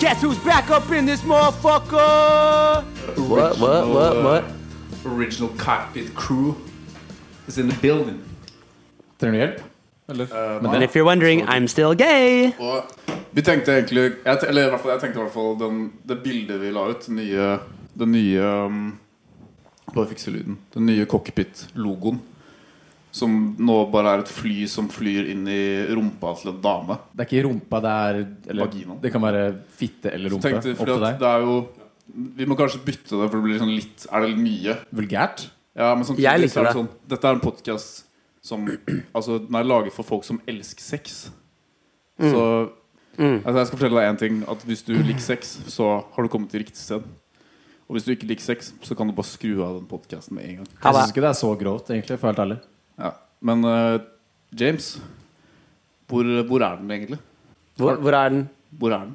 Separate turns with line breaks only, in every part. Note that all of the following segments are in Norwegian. Guess who's back up in this motherfucker?
What, what, what, what?
uh, Original cockpit crew is in the building.
Trenger du hjelp? Eller?
And if you're wondering, I'm still gay.
Og vi tenkte egentlig jeg, te- Eller i hvert fall, jeg tenkte i hvert fall den, det bildet vi la ut, den nye, den nye um, Bare fikse lyden. Den nye cockpit-logoen. Som nå bare er et fly som flyr inn i rumpa til en dame.
Det er ikke rumpa, det er eller,
Vaginaen.
Det kan være fitte eller rumpe.
Tenkte,
Opp
fordi
til
at
deg.
det er jo Vi må kanskje bytte det, for det blir sånn litt Er det mye?
Vulgært?
Ja, men samtidig
Jeg liker
så er det
det.
sånn Dette er en podcast som Altså, den er laget for folk som elsker sex
Mm.
Så altså, Jeg skal fortelle deg en ting At hvis du liker sex, så har du kommet til riktig sted Og hvis du ikke liker sex Så kan du bare skru av den podcasten med en gang
Jeg
Halla.
syns ikke det er så grovt, egentlig. For å være helt ærlig.
ja. Men eh, James hvor, hvor er den egentlig?
Hvor, hvor er den?
Hvor er den?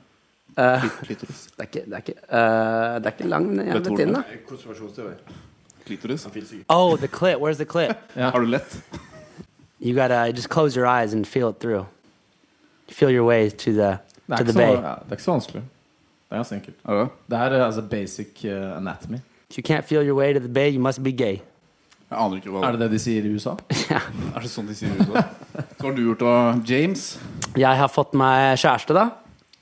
Eh,
Klitoris
det, er ikke, det, er ikke, eh, det er ikke lang, den
Vet du
jævla
hvor
tiden,
den
da.
Konspirasjonsteori.
Klitoris
Han finnes ikke.
Oh, the clit. Where's the clit?
Har du lett?
You gotta just close your eyes and feel it through. Feel your way to the
Det
to
er,
the
ikke så,
bay.
ja, det er ikke så vanskelig. Det er ganske enkelt.
Er det?
Det er eh, altså basic eh, anatomy.
If you can't feel your way to the bay, you must be gay.
Jeg aner ikke hva
Er det det de sier i USA?
Er det sånn de sier ute? Hva har du gjort da, James?
Jeg har fått meg kjæreste, da.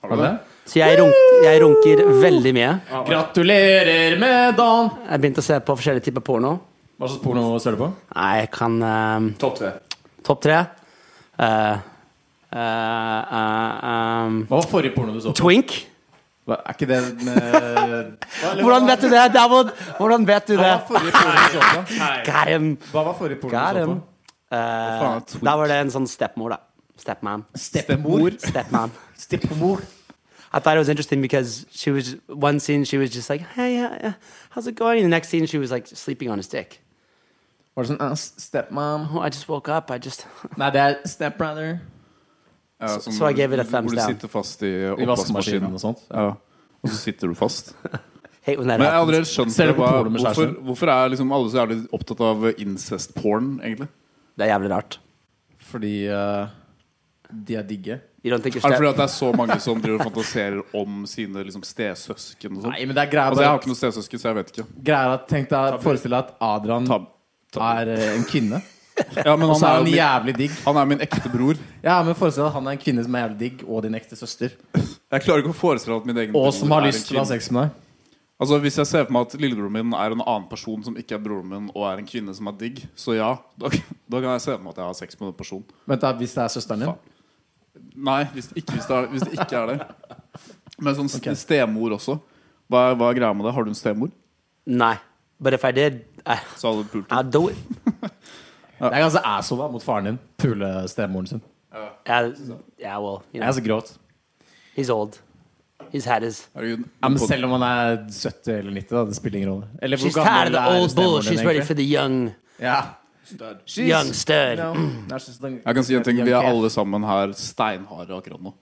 Har
Er
du
det?
det?
Så jeg, runk, jeg runker veldig mye.
Gratulerer med dagen!
Jeg begynte å se på forskjellige typer porno.
Hva slags porno ser du på?
Nei, jeg kan ehm,
Topp tre.
Topp tre. Eh, eh, eh, ehm,
Hva var forrige porno du så på?
twink.
Hva- Er ikke det med
Hvordan vet du det? Det er hvor- Hvordan vet du
Hva
det?
var forrige porno du så på?
Got him.
Hva var forrige porno
Got
du så
him.
på?
Eh,
faen er twink?
da var det en sånn stepmor, da. Stepman.
Steppemor.
Stepman.
Steppemor.
I thought it was interesting because she was one scene she was just like, "Hey, uh, uh, how's it going?" And the next scene she was like sleeping on his dick.
Var det sånn uh, stepmom?
Oh, I just woke up. I just
Nei, det er stepbrother.
Ja,
Så-
som-
så jeg gave it a thumbs
Hvor du
down.
sitter fast i
I vaskemaskinen
oppvaskmaskinen.
og sånt.
Ja. Og så sitter du fast.
hate when that
Men jeg har
happens.
aldri helt skjønt
Ser du
det,
på
hva,
porno med
hvorfor,
kjæresten?
hvorfor er liksom alle så jævlig opptatt av incest-porn, egentlig?
Det er jævlig rart.
Fordi eh, de er digge.
You don't think you're
Er det
step-
fordi at det er så mange som driver og fantaserer om sine liksom, stesøsken? Og sånn?
Nei, men det er greia
altså, jeg har
bare,
ikke noe stesøsken, så jeg vet ikke.
greia er at Tenk deg forestill deg at Adrian
Tab.
er eh, en kvinne.
Ja, men han
Og så er
er, jo
han
min,
jævlig digg.
han er min ekte bror.
Ja, men forestill deg at han er en kvinne som er jævlig digg, og din ekte søster.
Jeg klarer ikke å forestille meg at min egen
Og
bror
som har
er en
lyst til å ha
kvinne.
sex med deg.
Altså Hvis jeg ser for meg at lillebroren min er en annen person som ikke er broren min, og er en kvinne som er digg, så ja. Da, da kan jeg se for meg at jeg har sex med den personen.
Vent da, Hvis det er søsteren din.
Nei, hvis det ikke, hvis det er, hvis det, ikke er det. Men sånn st- stemor også. Hva er, hva er greia med det? Har du en stemor?
Nei. But if I did, I,
Så hadde du pult henne.
I'd do it.
Det er ganske asshole da, mot faren din. Pule stemoren sin.
I, yeah, well, you
Det
know,
er så grovt.
he's old. He's had his.
Herregud,
Ja, men
pod-
selv om han er 70 eller 90, da, det spiller ingen rolle. Eller hvor
She's tired of
gammel
the
er
old bull.
stemoren
She's
din,
ready for
egentlig?
the young,
Ja.
Stud.
She's-
young stud.
No, no, she's young-
Jeg kan si en ting. Vi
young
er
cat.
alle sammen her steinharde akkurat nå.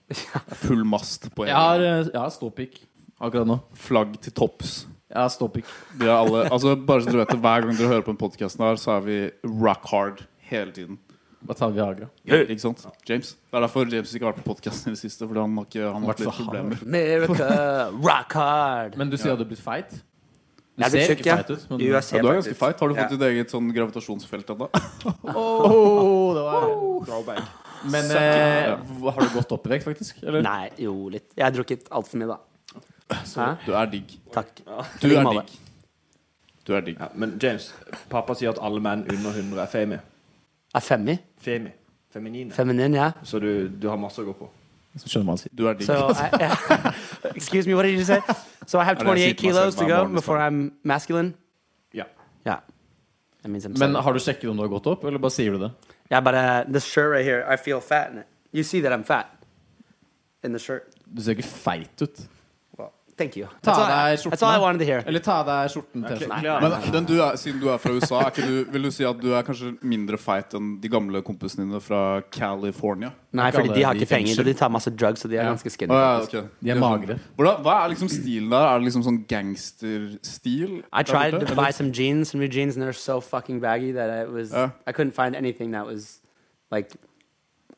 Full mast på en
Jeg har, eh, jeg har ståpikk akkurat nå.
flagg til topps.
Jeg har ståpikk.
Vi er alle, altså bare så dere vet det, Hver gang dere hører på den podkasten her, så er vi rock hard hele tiden.
Hva tar vi av Agra?
Ikke sant? James. Det er derfor James ikke har vært på podkasten i det siste. Fordi han har ikke han har hatt
Vært
litt
for hard.
problemer.
America, rock hard.
Men du sier at du er blitt feit? Du
Jeg er blitt
ser
tjukk,
ikke
ja.
feit ut. Men,
Jo, jeg
Ja,
ser
du er
feit
ganske
ut.
feit. Har du fått
Ja.
ditt eget sånn gravitasjonsfelt ennå?
Åh, det var...
Throwback.
men eh, hva- har du gått opp i vekt, faktisk? Eller?
Nei, jo, litt. Jeg har drukket altfor mye, da. Hæ?
Du er digg.
Takk.
Du
Ligg
er
med alle.
digg. Du er digg.
Ja, men James, pappa sier at alle menn under 100 er femi.
Er femmi.
Femi. Feminine.
Feminin, ja.
Så du, du har masse å gå på.
Så skjønner man hva han sier.
Du er digg.
So I, excuse me, what did you say? So I have
Nei, det
28
er sykt masse
kilos to go
varmorgen i
before I'm masculine.
Ja.
Yeah. That means I'm
Men
seven.
har du sjekket om du har gått opp, eller bare sier du det?
Yeah, but uh, this shirt right here, I feel fat in it. You see that I'm fat in the shirt.
Du ser ikke feit ut.
Well, thank you.
Ta
That's all,
av
I,
deg
that's all I
skjorten.
wanted to hear.
Eller ta av deg skjorten.
Kle-
T-skjorten.
Men
klær.
den du er, siden du er fra USA, er ikke du, vil du si at du er kanskje mindre feit enn de gamle kompisene dine fra California?
Nei, fordi
Kalle
de har
de
ikke penger,
fengsel.
og de tar masse drugs, og de er ganske skinny.
Å, ja, ok.
De er magre.
Hvordan, hva er liksom stilen der? Er det liksom sånn gangsterstil?
I tried
der borte?
to buy some jeans, some new jeans, and they're so fucking baggy that I was
Yeah.
I couldn't find anything that was like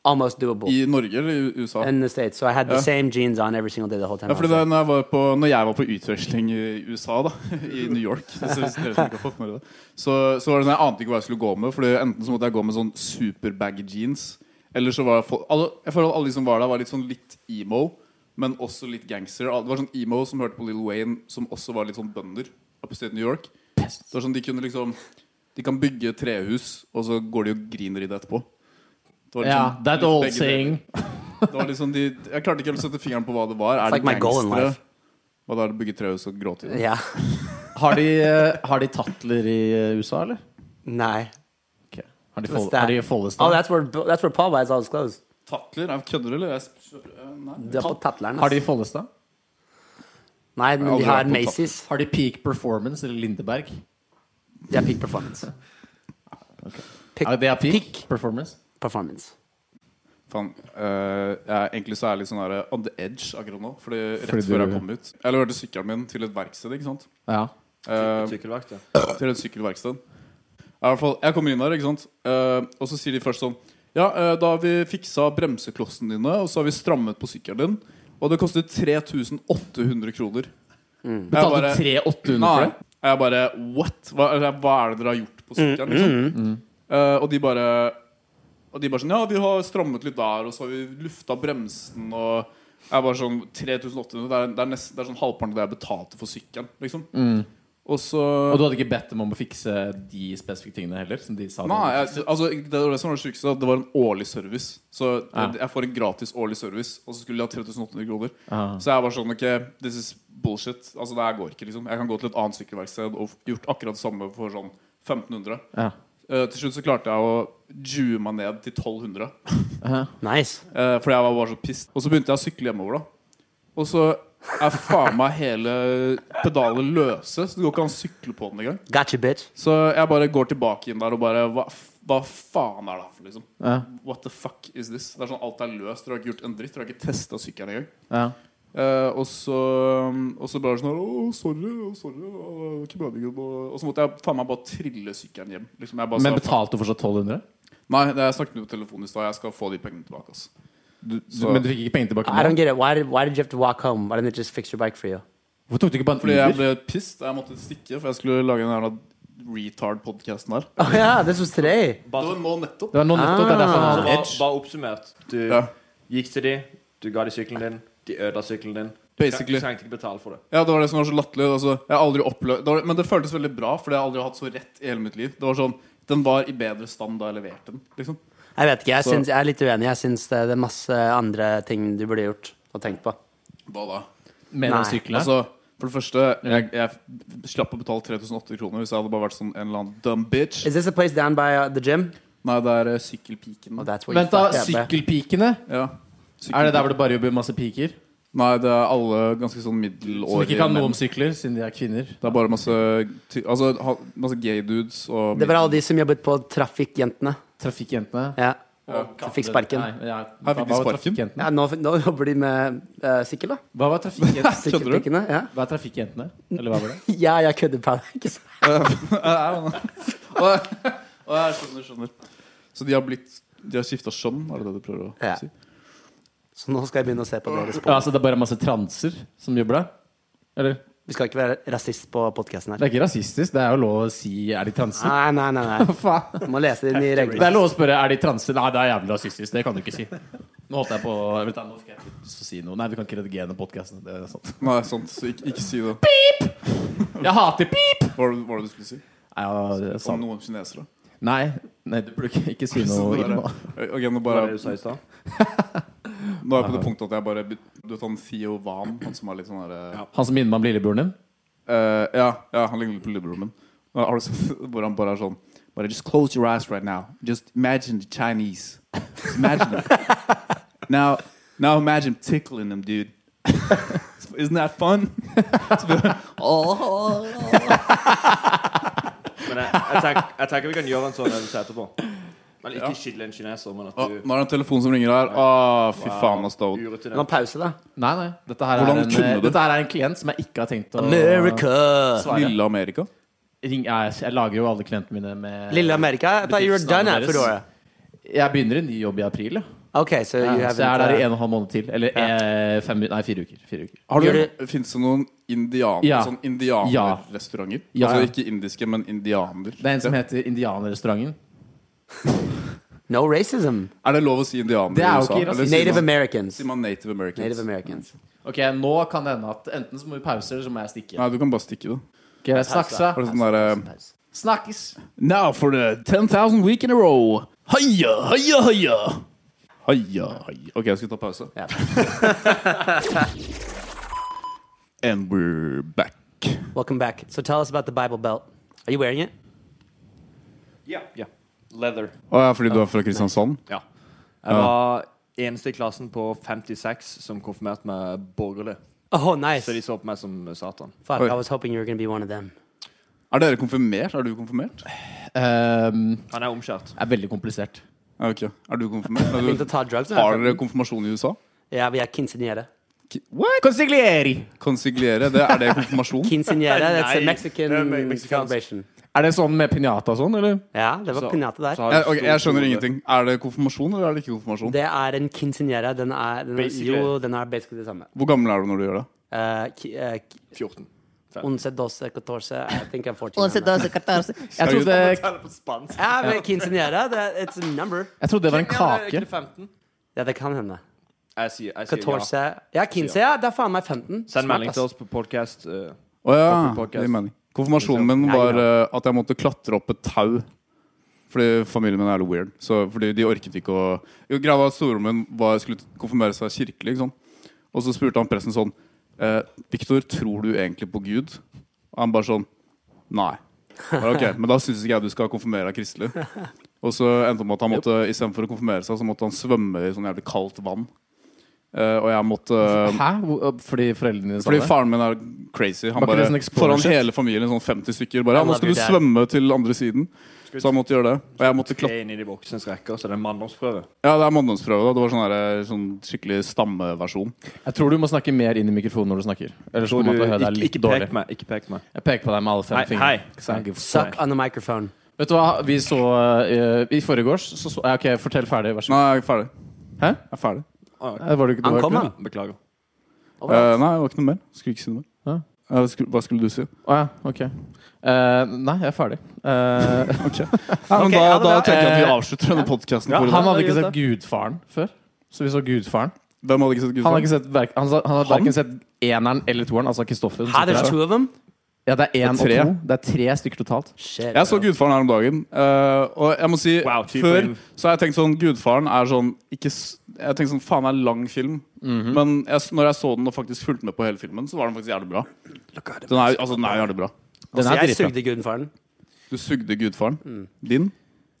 almost doable
I Norge eller i USA?
in the States. So I had the
Yeah.
same jeans on every single day the whole time.
Ja,
I
fordi
was
da
there.
når jeg var på, når jeg var på utveksling i USA, da, i New York så, så, hvis dere som ikke har fått med dere det, så, så var det sånn, Jeg ante ikke hva jeg skulle gå med. Fordi Enten så måtte jeg gå med sånn superbaggy jeans. Eller så var jeg, fol- alle, jeg føler at alle de som var der, var litt sånn litt emo, men også litt gangster. Al- Det var sånn emo som hørte på Lil Wayne, som også var litt sånn bønder. Oppe i stedet New York Det var sånn De kunne liksom De kan bygge trehus, og så går de og griner i det etterpå. Det var
Ja,
liksom
that
litt
old
begge deler.
saying.
Det var liksom de, jeg klarte ikke helt å sette fingeren på hva det var. Er
It's like
det
my goal in
gangstere?
life.
Hva da er det å bygge trehus og gråte i det?
Ja.
Har de, eh, har de tatler i eh, USA, eller?
Nei.
Ok. Har de,
What's
fold,
that?
har de Follestad?
Oh, that's where that's where Paul buys all his clothes.
Tatler? Er kødder, eller? Jeg spør, eh, nei.
Det er på tatleren.
har de
ass.
Follestad?
Nei, men de
Jeg har
har
aldri vært på
Macy's.
Har de Peak Performance eller Lindeberg?
Det er peak performance.
Ah,
Peak,
Ja, det er peak,
peak
Performance.
performance.
Faen, eh, jeg er egentlig så er jeg litt sånn der, on the edge akkurat nå. Fordi rett
Fordi
før
du-
jeg kom ut. Jeg leverte sykkelen min til et verksted. ikke sant?
Ja.
Eh,
Sykkelvakt, ja.
til et sykkelverksted. I hvert fall, Jeg kommer inn der, ikke sant? Eh, og så sier de først sånn Ja, eh, da har vi fiksa bremseklossene dine, og så har vi strammet på sykkelen din. Og det koster 3800 kroner. Mm.
Betalte du 3800 for
Nei.
det?
Jeg bare What? Hva, eller, hva er det dere har gjort på sykkelen? Liksom?
Mm.
Eh, og de bare Og de bare sånn Ja, vi har strammet litt der, og så har vi lufta bremsen, og jeg bare sånn 3800, det er, det er, nesten, det er sånn halvparten av det jeg betalte for sykkelen, liksom.
Mm.
Og så
Og du hadde ikke bedt dem om å fikse de spesifikke tingene heller? Som de sa de-
Nei, jeg, altså, det var det som var det sykeste. at Det var en årlig service. Så
Ja.
jeg, jeg får en gratis årlig service, og så skulle de ha 3800 kroner.
Ah.
Så jeg var sånn Ok, this is bullshit. Altså, det her går ikke, liksom. Jeg kan gå til et annet sykkelverksted og f- gjort akkurat det samme for sånn 1500.
Ja.
Eh, til slutt så klarte jeg å jue meg ned til 1200.
Nice.
eh, fordi jeg var bare så pissed. Og så begynte jeg å sykle hjemover, da. Og så er faen meg hele pedalet løse, så det går ikke an å sykle på den engang.
Gotcha, bitch.
Så jeg bare går tilbake inn der og bare Hva, f- hva faen er det her for, liksom?
Ja.
What the fuck is this? Det er sånn Alt er løst. Dere har ikke gjort en dritt. Dere har ikke testa sykkelen engang.
Ja.
Eh, og, så, og så bare sånn her, Å, sorry, å, sorry. Å, det var ikke meningen. Og, og så måtte jeg faen meg bare trille sykkelen hjem. Liksom, jeg bare sa,
Men betalte du fortsatt 1200?
Nei, det- jeg snakket med på telefonen i stad. Jeg skal få de pengene tilbake. ass.
Du,
Så-
men du fikk ikke penger tilbake?
I don't
nå?
get it. Why did, why did you have to walk home? Why didn't they just fix your bike for you?
Hvorfor tok du ikke bare en
Fordi jeg
Uber?
ble pissed. Jeg måtte stikke, for jeg skulle lage den jævla retard-podkasten her.
Oh yeah, this was today.
Det var nå nettopp.
Det var nå nettopp det er derfor
Så
han
bare,
har edge.
bare oppsummert. Du
Ja.
gikk til de, du ga de sykkelen din, de ødela sykkelen din. Du
Basically.
trengte ikke betale for det.
Ja, det var det som var så latterlig. Altså, jeg har aldri opplevd det var, Men det føltes veldig bra, for jeg har aldri hatt så rett i hele mitt liv. Det var sånn, Den var i bedre stand da jeg leverte den. liksom
Jeg vet ikke, jeg,
Så-
syns, jeg er litt uenig. Jeg syns det, det er masse andre ting du burde gjort og tenkt på.
Hva da?
Med den
Nei,
sykkelen her.
Altså, for det første, jeg, jeg slapp å betale 3800 kroner hvis jeg hadde bare vært sånn en eller annen dumb bitch.
Is this a place down by uh, the gym?
Nei, det er eh, sykkelpiken.
Oh, that's where you
Vent, da.
fucked up, eh?
Sykkelpikene?
Ja.
Er det der hvor det bare jobber masse piker?
Nei, det er alle ganske sånn
Som ikke
middelårige
kan noe om sykler, siden de er kvinner?
Det er bare masse, ty altså, ha- masse gay dudes og
eh. Det var alle de som jobbet på Trafikkjentene.
Trafikkjentene.
Ja. Som fikk sparken.
Nei, ja.
Her fikk de
Hva var
sparken.
trafikkjentene?
Ja, nå, nå jobber de med eh, sykkel, da.
Hva var trafikkjentene?
Skjønner du?
Sykkelpikkene. Ja.
Hva er trafikkjentene? Eller hva var det?
ja, jeg kødder på deg. Ikke sant?
Å, jeg skjønner, skjønner. Så de har blitt De har skifta skjønn, er det det du prøver å
Ja.
si?
Så nå skal jeg begynne å se på deres
Ja, altså det er bare masse transer som jobber der? Eller?
Vi skal ikke være rasist på podkasten her.
Det er ikke rasistisk, det er jo lov å si 'er de transer'?
Nei, nei, nei. nei.
Faen.
Må lese inn i
Det er
reglene.
lov å spørre 'er de transer'? Nei, det er jævlig rasistisk, det kan du ikke si. Nå holdt jeg på Vent, da, nå skal jeg ikke si noe. Nei, vi kan ikke redigere den podkasten. Det er sant.
Nei, sant. Så ikke, ikke si det.
Jeg hater pip!
Hva var det- hva var det du skulle si?
Ja, det
Om
er sant.
noen kinesere?
Nei, nei, du burde ikke, ikke si
Så
noe
det
ille
er-
nå.
Eh, Ok, nå,
Hva var
bare,
det du sa i stad?
nå er jeg på det punktet at jeg bare Du vet han Theo Van, han som er litt sånn derre
Han som minner meg om lillebroren din?
Eh, ja, ja, han ligner litt på lillebroren min. Ja, Har du sett hvor han bare er sånn Bare just close your eyes right now. Just imagine the Chinese. Just imagine them. Now, now imagine tickling them, dude. Isn't that fun?
Men jeg, jeg, tenker, jeg tenker vi kan gjøre en sånn øvelse etterpå. Men ikke skille en kineser, men at
Å,
du
nå er det en telefon som ringer her. Å, fy faen, ass, David.
Nå er
urutinert.
pause, da.
Nei, nei. Dette her, er
Hvordan
en,
kunne du?
dette her er en klient som jeg ikke har tenkt å
America!
svare.
Lille Amerika.
Ring, jeg, jeg lager jo alle klientene mine med
Lille Amerika? I thought you were done
Bedriftsnavnet
her for
deres.
året.
Jeg begynner en ny jobb i april. Ja.
Okay, so you
Ja,
haven't.
så jeg er der i
uh,
en og en halv måned til. Eller eh, fem, nei, fire uker. Fire uker.
Har
Gjør
du, Fins det noen indianer,
Ja.
sånn indianerrestauranter?
Ja, ja.
Altså ikke indiske, men indianer.
Det er en som heter Indianerrestauranten.
no racism.
Er det lov å si indianer
Det er
i
jo
USA?
ikke rasisme.
sier
Native
man-
Americans.
Sier man Native Americans?
Native Americans.
Ok, Nå kan det hende at enten så må vi pause, eller så må jeg stikke.
Nei, du kan bare stikke det.
Ok, snakkes, da.
Er det sånn
Um,
der, eh,
Snakkes!
Now for the 10,000 week in a row. Heia, heia, heia. Heia, heia. Ok, jeg skal ta pause.
Ja.
And we're back.
Welcome back. So tell us about the Bible Belt. Are you wearing it?
Ja. ja. Leather.
Å ja, fordi du er fra Kristiansand?
Ja. Jeg var eneste i klassen på 56 som konfirmerte meg borgerlig.
Oh, nice.
Så de så på meg som Satan.
Fuck,
Oi.
I was hoping you were going to be one of them.
Er dere konfirmert? Er du konfirmert?
Ehm,
Han er omskjært.
er veldig komplisert.
Ja, ok. Er du konfirmert? Er
Begynte å
du,
ta drugs. nå,
har
jeg
dere
føler.
konfirmasjon i USA?
Ja, vi er quinceanera.
Ki- What? Konsigliere, det er det konfirmasjon?
Quinceanera, that's a
Nei,
Mexican
det er me- meksikansk.
celebration.
Er det sånn med pinjata og sånn, eller?
Ja, det var
Så-
pinata der.
så har
Jeg,
du
ok,
stor
jeg skjønner
hode.
ingenting. Er det konfirmasjon, eller er det ikke konfirmasjon?
Det er en quinceanera. Den er, den,
Basically.
jo, den er basically det samme.
Hvor gammel er du når du gjør det?
Uh, ki- uh, ki-
14.
Once, doce, catorce. I think I'm 14.
Once, doce, catorce.
Jeg trodde,
Tell det på spansk.
Ja, men Ah, quinceanera, det er- it's a number.
jeg trodde det var en
Ja, men er ikke
kake.
det 15?
Ja, det kan hende.
Jeg sier, jeg sier ja.
Catorce. Ja, quince, ja. Det er faen meg 15.
Send melding
Smart,
til
ass.
oss på podcast. eh,
Å ja,
Podcast.
det gir mening. Konfirmasjonen min
Ja,
var
ja.
eh, at jeg måtte klatre opp et tau. Fordi familien min er litt weird. Så, fordi de orket ikke å Jo, Greia var at storebroren min var, skulle konfirmere seg kirkelig. Ikke sant? Og så spurte han presten sånn eh, 'Victor, tror du egentlig på Gud?' Og han bare sånn Nei. Jeg Bare, ok, Men da syns ikke jeg du skal konfirmere deg kristelig. Og så endte det med at han måtte istedenfor å konfirmere seg, så måtte han svømme i sånn jævlig kaldt vann. Eh, og jeg måtte
Hæ? Hvor- Fordi foreldrene dine sa
fordi
det?
faren min er crazy. Han
Var ikke
bare,
det sånn explorer
foran
shit?
hele familien, sånn 50 stykker. Bare,
I
ja, nå
love
skal
you,
du
Dad."
svømme til andre siden. Så han måtte gjøre det. Og jeg måtte klatre.
Tre inn i de voksnes rekker, så det er en manndomsprøve.
Ja, det er manndomsprøve. da. Det var sånn, der, sånn skikkelig stammeversjon.
Jeg tror du må snakke mer inn i mikrofonen når du snakker. Ellers
Tror
kommer man
du-
til å høre deg
Ikke,
litt
ikke
dårlig.
pek meg. Ikke pek meg.
Jeg peker på deg med alle fem
Hei,
fingre.
hei.
Ikke sant?
Suck on the microphone.
Vet du hva, vi så eh, I forgårs så, så ja, Ok, fortell ferdig, vær så
Nei, jeg er ferdig.
Hæ?
Jeg er ferdig.
god. Nei, Eh, Var du ikke, du
Han
var
kom,
ikke
han.
Beklager.
Eh, nei, det var ikke noe mer. Skulle ikke si noe mer.
Hæ?
Eh, skulle, hva skulle du si?
det? Å, ja, ok. Eh, nei, jeg er ferdig. Eh,
Ja, men
Ok,
da,
ha det
da
bra.
tenker jeg at vi
Eh,
avslutter denne podkasten.
ja,
han hadde ikke sett Gudfaren før. Så vi så Gudfaren.
Hvem hadde ikke sett
Han har
Gudfaren?
ikke sett verk, han, sa- han har
Han?
verken sett eneren eller toeren, altså Kristoffer.
Hi, there's two of them?
Ja, det er én og
Det er
to. Det er tre stykker totalt.
Shit.
Jeg så Gudfaren her om dagen, eh, og jeg må si
Wow, typ
Før
film.
så har jeg tenkt sånn Gudfaren er sånn ikke, s- Jeg tenkte sånn, Faen, det er en lang film.
Mhm.
Men jeg, s- når jeg så den og faktisk fulgte med på hele filmen, så var den faktisk jævlig bra. Den er, altså, den er jævlig bra.
Den
Så
er
jeg
dritbra.
sugde gudfaren.
Du sugde Gudfaren.
Mm.
Din.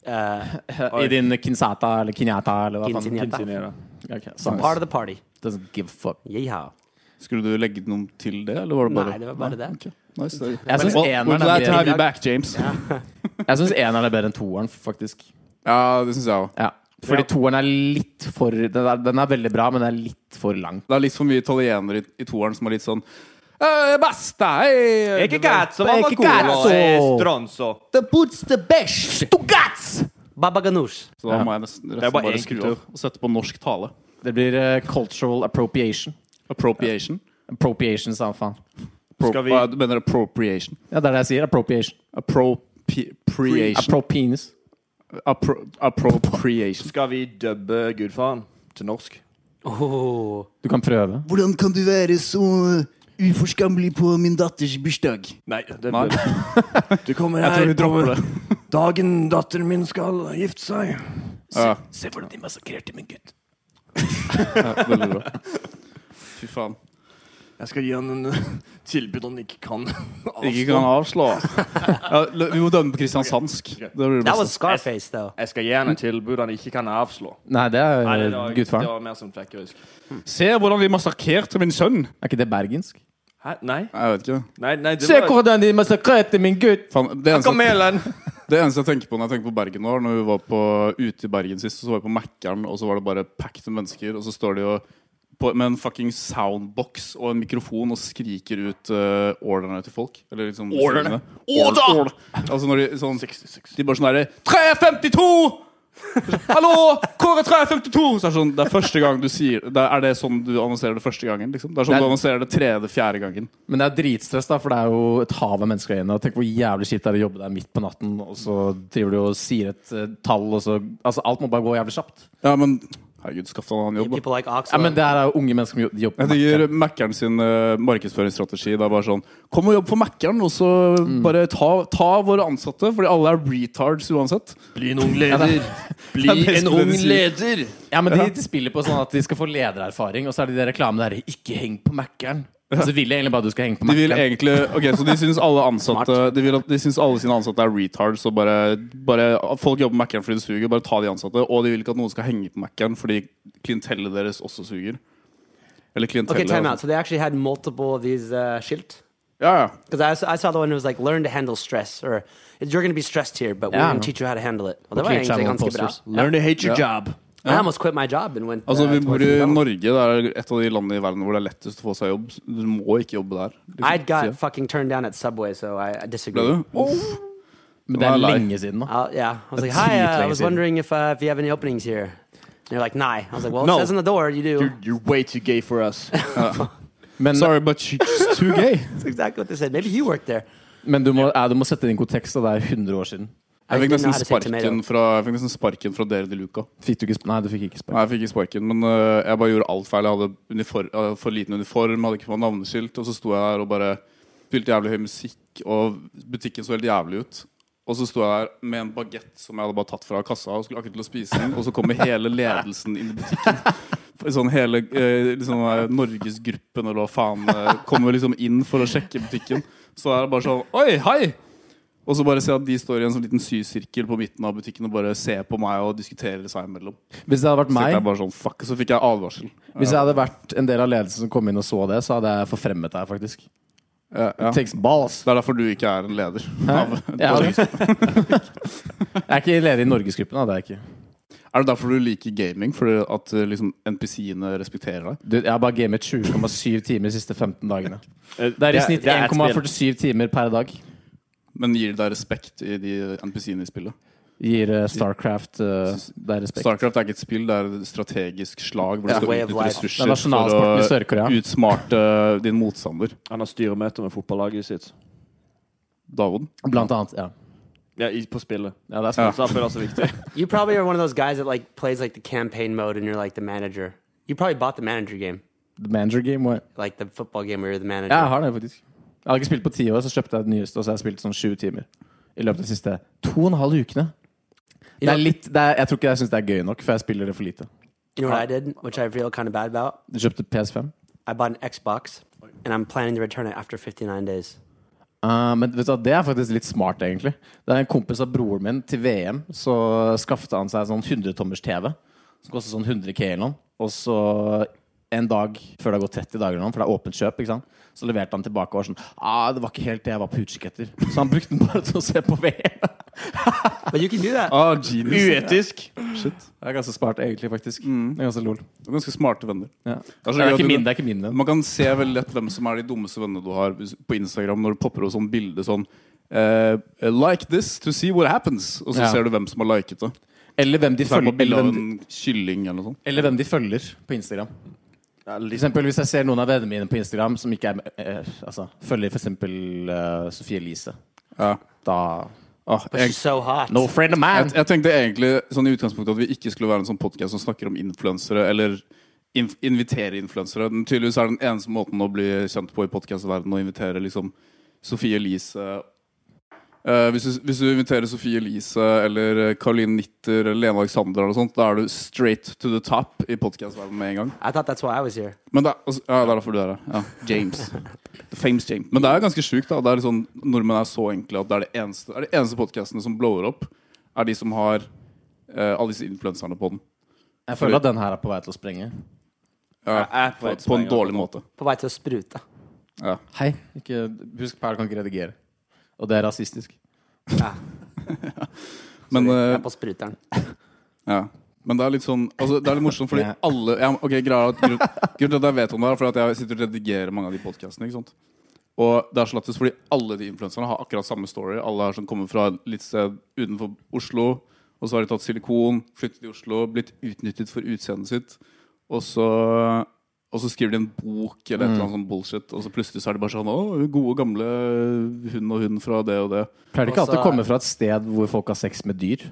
Uh,
I din kinsata eller kinjata eller hva faen.
Kinsinjata.
Insinuere.
Ok, samme.
part of the party.
Doesn't give a fuck.
Yeehaw.
Skulle du legge noen til det, eller var det bare
Nei, det var bare det.
Ok, Nice, det.
Jeg synes
well,
eneren
we're
er
glad to
bedre.
have you back, James. Ja,
Jeg syns eneren er bedre enn toeren, faktisk.
det syns jeg òg.
Ja. Fordi toeren er litt for den er, den er veldig bra, men den er litt for lang.
Det er litt for mye italienere i, i toeren som er litt sånn «Eh, Basta! eh,
Ikke cazzo,
Ikke
mamma
cazzo.
cola, stronzo.
The boots the best!
Baba ganoush.
Så da må jeg nesten
er
resten
bare
bare,
én
skru av
kultur.
og sette på norsk tale.
Det blir eh, cultural appropriation.
Appropriation.
Appropriation, sa han faen.
Pro,
Skal vi-
hva, du mener appropriation?
Ja, det er det jeg sier. Appropriation.
Appropriation.
Appropenis.
Appro, appropriation.
Skal vi dubbe gudfaren til norsk?
Oh.
Du kan prøve.
Hvordan kan du være så uh, uforskammelig på min datters bursdag?
Nei. det
Nei.
Du kommer
Jeg tror vi dropper det.
dagen datteren min skal gifte seg.
Ja,
Se hvordan de massakrerte min gutt.
veldig bra. Fy faen.
Jeg skal gi han en eh, tilbud han ikke kan
Ikke kan avslå. Ja, l- vi må dømme på kristiansandsk. Det blir det
That was
beste.
Scarface, though.
Jeg skal gi han et tilbud han ikke kan avslå.
Nei, det er
Nei,
eh,
det, var, det
gudfaren.
var mer som flekkerøysk.
Se hvordan de massakrerte min sønn!
Er ikke det bergensk?
Hæ? Nei?
Jeg vet ikke.
Nei, nei det
Se
var
hvordan de massakrerte min gutt!
Faen, det, eneste,
Kamelen!
det eneste jeg tenker på når jeg tenker på Bergen nå, er når vi var på, ute i Bergen sist, så var vi på Mækkern, og så var det bare packed med mennesker, og så står de og på, med en fucking soundbox og en mikrofon og skriker ut uh, ordrene til folk. Eller liksom bestillingene. Order! Altså når de sånn
66.
De bare sånn derre 352! Hallo! Kåre Træ 52! Så er det, sånn, det er første gang du sier det er- Er det sånn du annonserer det første gangen? Liksom? Det er sånn
Det er-
du annonserer det tredje, fjerde gangen.
Men det er dritstress, da, for det er jo et hav av mennesker der inne. og Tenk hvor jævlig shit det er å jobbe der midt på natten, og så driver du og sier et eh, tall, og så Altså, alt må bare gå jævlig kjapt.
Ja, men herregud, skaff deg en annen jobb, da.
People like Oxo.
Ja, men det her er jo unge mennesker som jo- de jobber
Jeg
på
digger Mækkern sin eh, markedsføringsstrategi. Det er bare sånn Kom og jobb for Mækkern, og så bare ta, ta våre ansatte, fordi alle er retards uansett.
Bli en ung leder. Bli
Ja, det er
en
skulle
ung
du si.
leder.
Ja, men de, de spiller på sånn at de skal få ledererfaring, og så er det de reklamene der 'Ikke heng på Mækkern'. Og Så vil jeg egentlig bare du skal henge på
De vil
Mækkern.
egentlig Ok, så de syns alle ansatte De, vil at, de syns alle sine ansatte er retards, og bare, bare Folk jobber på Mækkern fordi det suger, bare ta de ansatte. Og de vil ikke at noen skal henge på Mækkern fordi klientellet deres også suger. Eller klientellet.
okay, time out.
altså.
So they actually had multiple of these uh, shield.
Ja, ja.
Because I, s- I saw the one who was like, learn to handle stress, or you're going to be stressed here, but we're
Yeah.
going to teach you how to handle it. Well, that
Clear
ain't taking
Channel
on skip it out.
posters.
Learn to hate your job.
I almost quit my job and went.
Altså,
uh,
vi
to
bor i
work for McDonald's.
Norge. Det er et av de landene i verden hvor det er lettest å få seg jobb. Du må ikke jobbe der. liksom.
I'd got
Sier jeg.
fucking turned down at Subway, so I, I disagree.
Ble du?
Men det
Nei,
er
nei.
lenge siden nå.
Uh, yeah, I was like,
That's
hi,
huge
uh, I
legacy.
was wondering if uh, if you have any openings here. And you're like, nah. I was like, well,
No.
it says on the door you do.
You're, you're way too gay for us.
Men,
Sorry, but she's too gay.
That's exactly what they said. Maybe you worked there.
men du, må, ja, du må sette det inn i kontekst, og det er 100 år siden.
I
Jeg fikk
didn't know
nesten
how to say
sparken
tomato.
fra, jeg fikk nesten sparken fra dere de Luca.
Fikk du ikke sp- Nei, du fikk ikke
Nei,
spark.
jeg fikk ikke sparken, men øh, jeg bare gjorde alt feil. Jeg hadde unifor, øh, for liten uniform, hadde ikke på meg navneskilt, og så sto jeg der og bare spilte jævlig høy musikk, og butikken så helt jævlig ut. Og så sto jeg der med en bagett som jeg hadde bare tatt fra kassa, og skulle akkurat til å spise den, og så kommer hele ledelsen inn i butikken. Sånn hele øh, liksom, øh, Norgesgruppen eller hva faen øh, kommer liksom inn for å sjekke butikken. Så er det bare sånn Oi, hei! Og så bare se at de står i en sånn liten sysirkel på midten av butikken og bare ser på meg og diskuterer seg imellom.
Hvis det hadde vært
Så tenkte
meg,
jeg bare sånn, fuck, så fikk jeg advarsel.
hvis jeg hadde vært en del av ledelsen som kom inn og så det, så hadde jeg forfremmet deg, faktisk.
Ja, Eh, ja.
Takes balls.
Det er derfor du ikke er en leder. Av,
Ja, jeg er ikke leder i Norgesgruppen, da. Det er jeg ikke.
Er det derfor du liker gaming? Fordi at eh, liksom, NPC-ene respekterer deg?
Du, jeg har bare gamet 20,7 timer de siste 15 dagene. Det er i snitt
det er et spill.
1,47 timer per dag.
Men gir det deg respekt i de NPC-ene i spillet?
Gir eh, Starcraft eh, det er respekt.
Starcraft er ikke et spill, det er et strategisk slag hvor du
Ja.
skal
Way of
utnytte
life.
Det er
ressurser
nasjonalsporten i
for å
Sør-Korea.
utsmarte din motstander.
Han har styremøte med fotballaget sitt.
Davon.
Blant annet. Ja.
Ja, i- på spillet.
ja det er
Ja.
smart.
Så derfor er det så viktig.
You probably are one of those guys that like plays like the campaign mode, and you're like the manager. You probably bought the manager game,
The Manager Game. Where...
like the football game where you're the manager.
Ja, jeg har det, faktisk. Jeg har ikke spilt på ti år, så kjøpte jeg det nyeste, og så har jeg spilt sånn sju timer. I løpet av de siste to og en halv ukene.
You
Det er
know,
litt, det er, jeg tror ikke jeg syns det er gøy nok, for jeg spiller det for lite.
you know what I did, which I feel kind of bad about.
Du kjøpte PS5.
I bought an Xbox, and I'm planning to return it after 59 days.
Eh, men vet du, hva, det er faktisk litt smart, egentlig. Det er En kompis av broren min til VM Så skaffet han seg sånn 100-tommers-TV. Som koster sånn 100 K eller noe. Og så en dag før det har gått 30 dager, eller noe, for det er åpent kjøp, ikke sant? så leverte han tilbake og var sånn ah, 'Det var ikke helt det jeg var på utkikk etter.' Så han brukte den bare til å se på VM.
But you can do that.
Ah, genius.
Uetisk.
Det er ganske smart, egentlig, faktisk. Det er ganske lol.
Du er ganske smarte venner.
Ja.
Det er så
Det
gøy
er
at
ikke
du-
min, det er ikke min venn.
Man kan se veldig lett hvem som er de dummeste vennene du har hvis- på Instagram når det popper opp sånn bilde sånn eh, Like this to see what happens. Og så
Ja.
ser du hvem som har liket det.
Eller hvem de
Så er det
følger.
bare bilde
Eller
av
hvem de,
en kylling eller noe sånt.
eller hvem de følger på Instagram.
Ja,
For
litt-
eksempel, hvis jeg ser noen av vennene mine på Instagram som ikke er med- eh, altså, følger f.eks. Uh, Sofie Elise,
Ja.
da
Ah,
But
jeg,
she's so hot.
No friend of
jeg,
mine!
jeg tenkte egentlig sånn i utgangspunktet at vi ikke skulle være en sånn podkast som snakker om influensere, eller inv invitere influensere. Men tydeligvis er den eneste måten å bli kjent på i podkastverdenen å invitere liksom Sofie Elise Eh, hvis, du, hvis du inviterer Sofie Elise eller Caroline Nitter eller Lene Alexander, eller noe sånt, da er du straight to the top i podkastverdenen med en gang.
I thought that's why I was here.
Men det, er- altså, ja, det er derfor du er her. Ja. James. The famous James. Men det er ganske sjukt. da. Det er litt sånn, nordmenn er så enkle at det er det eneste, det er de eneste podkastene som blower opp, er de som har eh, alle disse influenserne på den.
Jeg føler at den her er på vei til å sprenge.
Ja,
Jeg er på
på, på
et
en
spreng, altså.
dårlig måte.
På vei til å sprute.
Hei. Ikke, husk, Paul kan ikke redigere. Og det er rasistisk.
Men,
Jeg
eh,
er på spruteren.
ja. Men det er litt sånn altså, Det er litt morsomt, fordi
Ja.
alle ja, Ok, greia er at grunn- Grunnen til at jeg vet om det, her er fordi at jeg sitter og redigerer mange av de podkastene. Ikke sant? Og det er så lættis fordi alle de influenserne har akkurat samme story. Alle er som kommer fra litt sted utenfor Oslo. Og så har de tatt silikon, flyttet til Oslo, blitt utnyttet for utseendet sitt. Og så, og så skriver de en bok eller et eller annet sånn bullshit, og så plutselig så er det bare sånn Å, gode, gamle hun og hun fra det og det.
Pleier det ikke alltid
Også-
å komme fra et sted hvor folk har sex med dyr?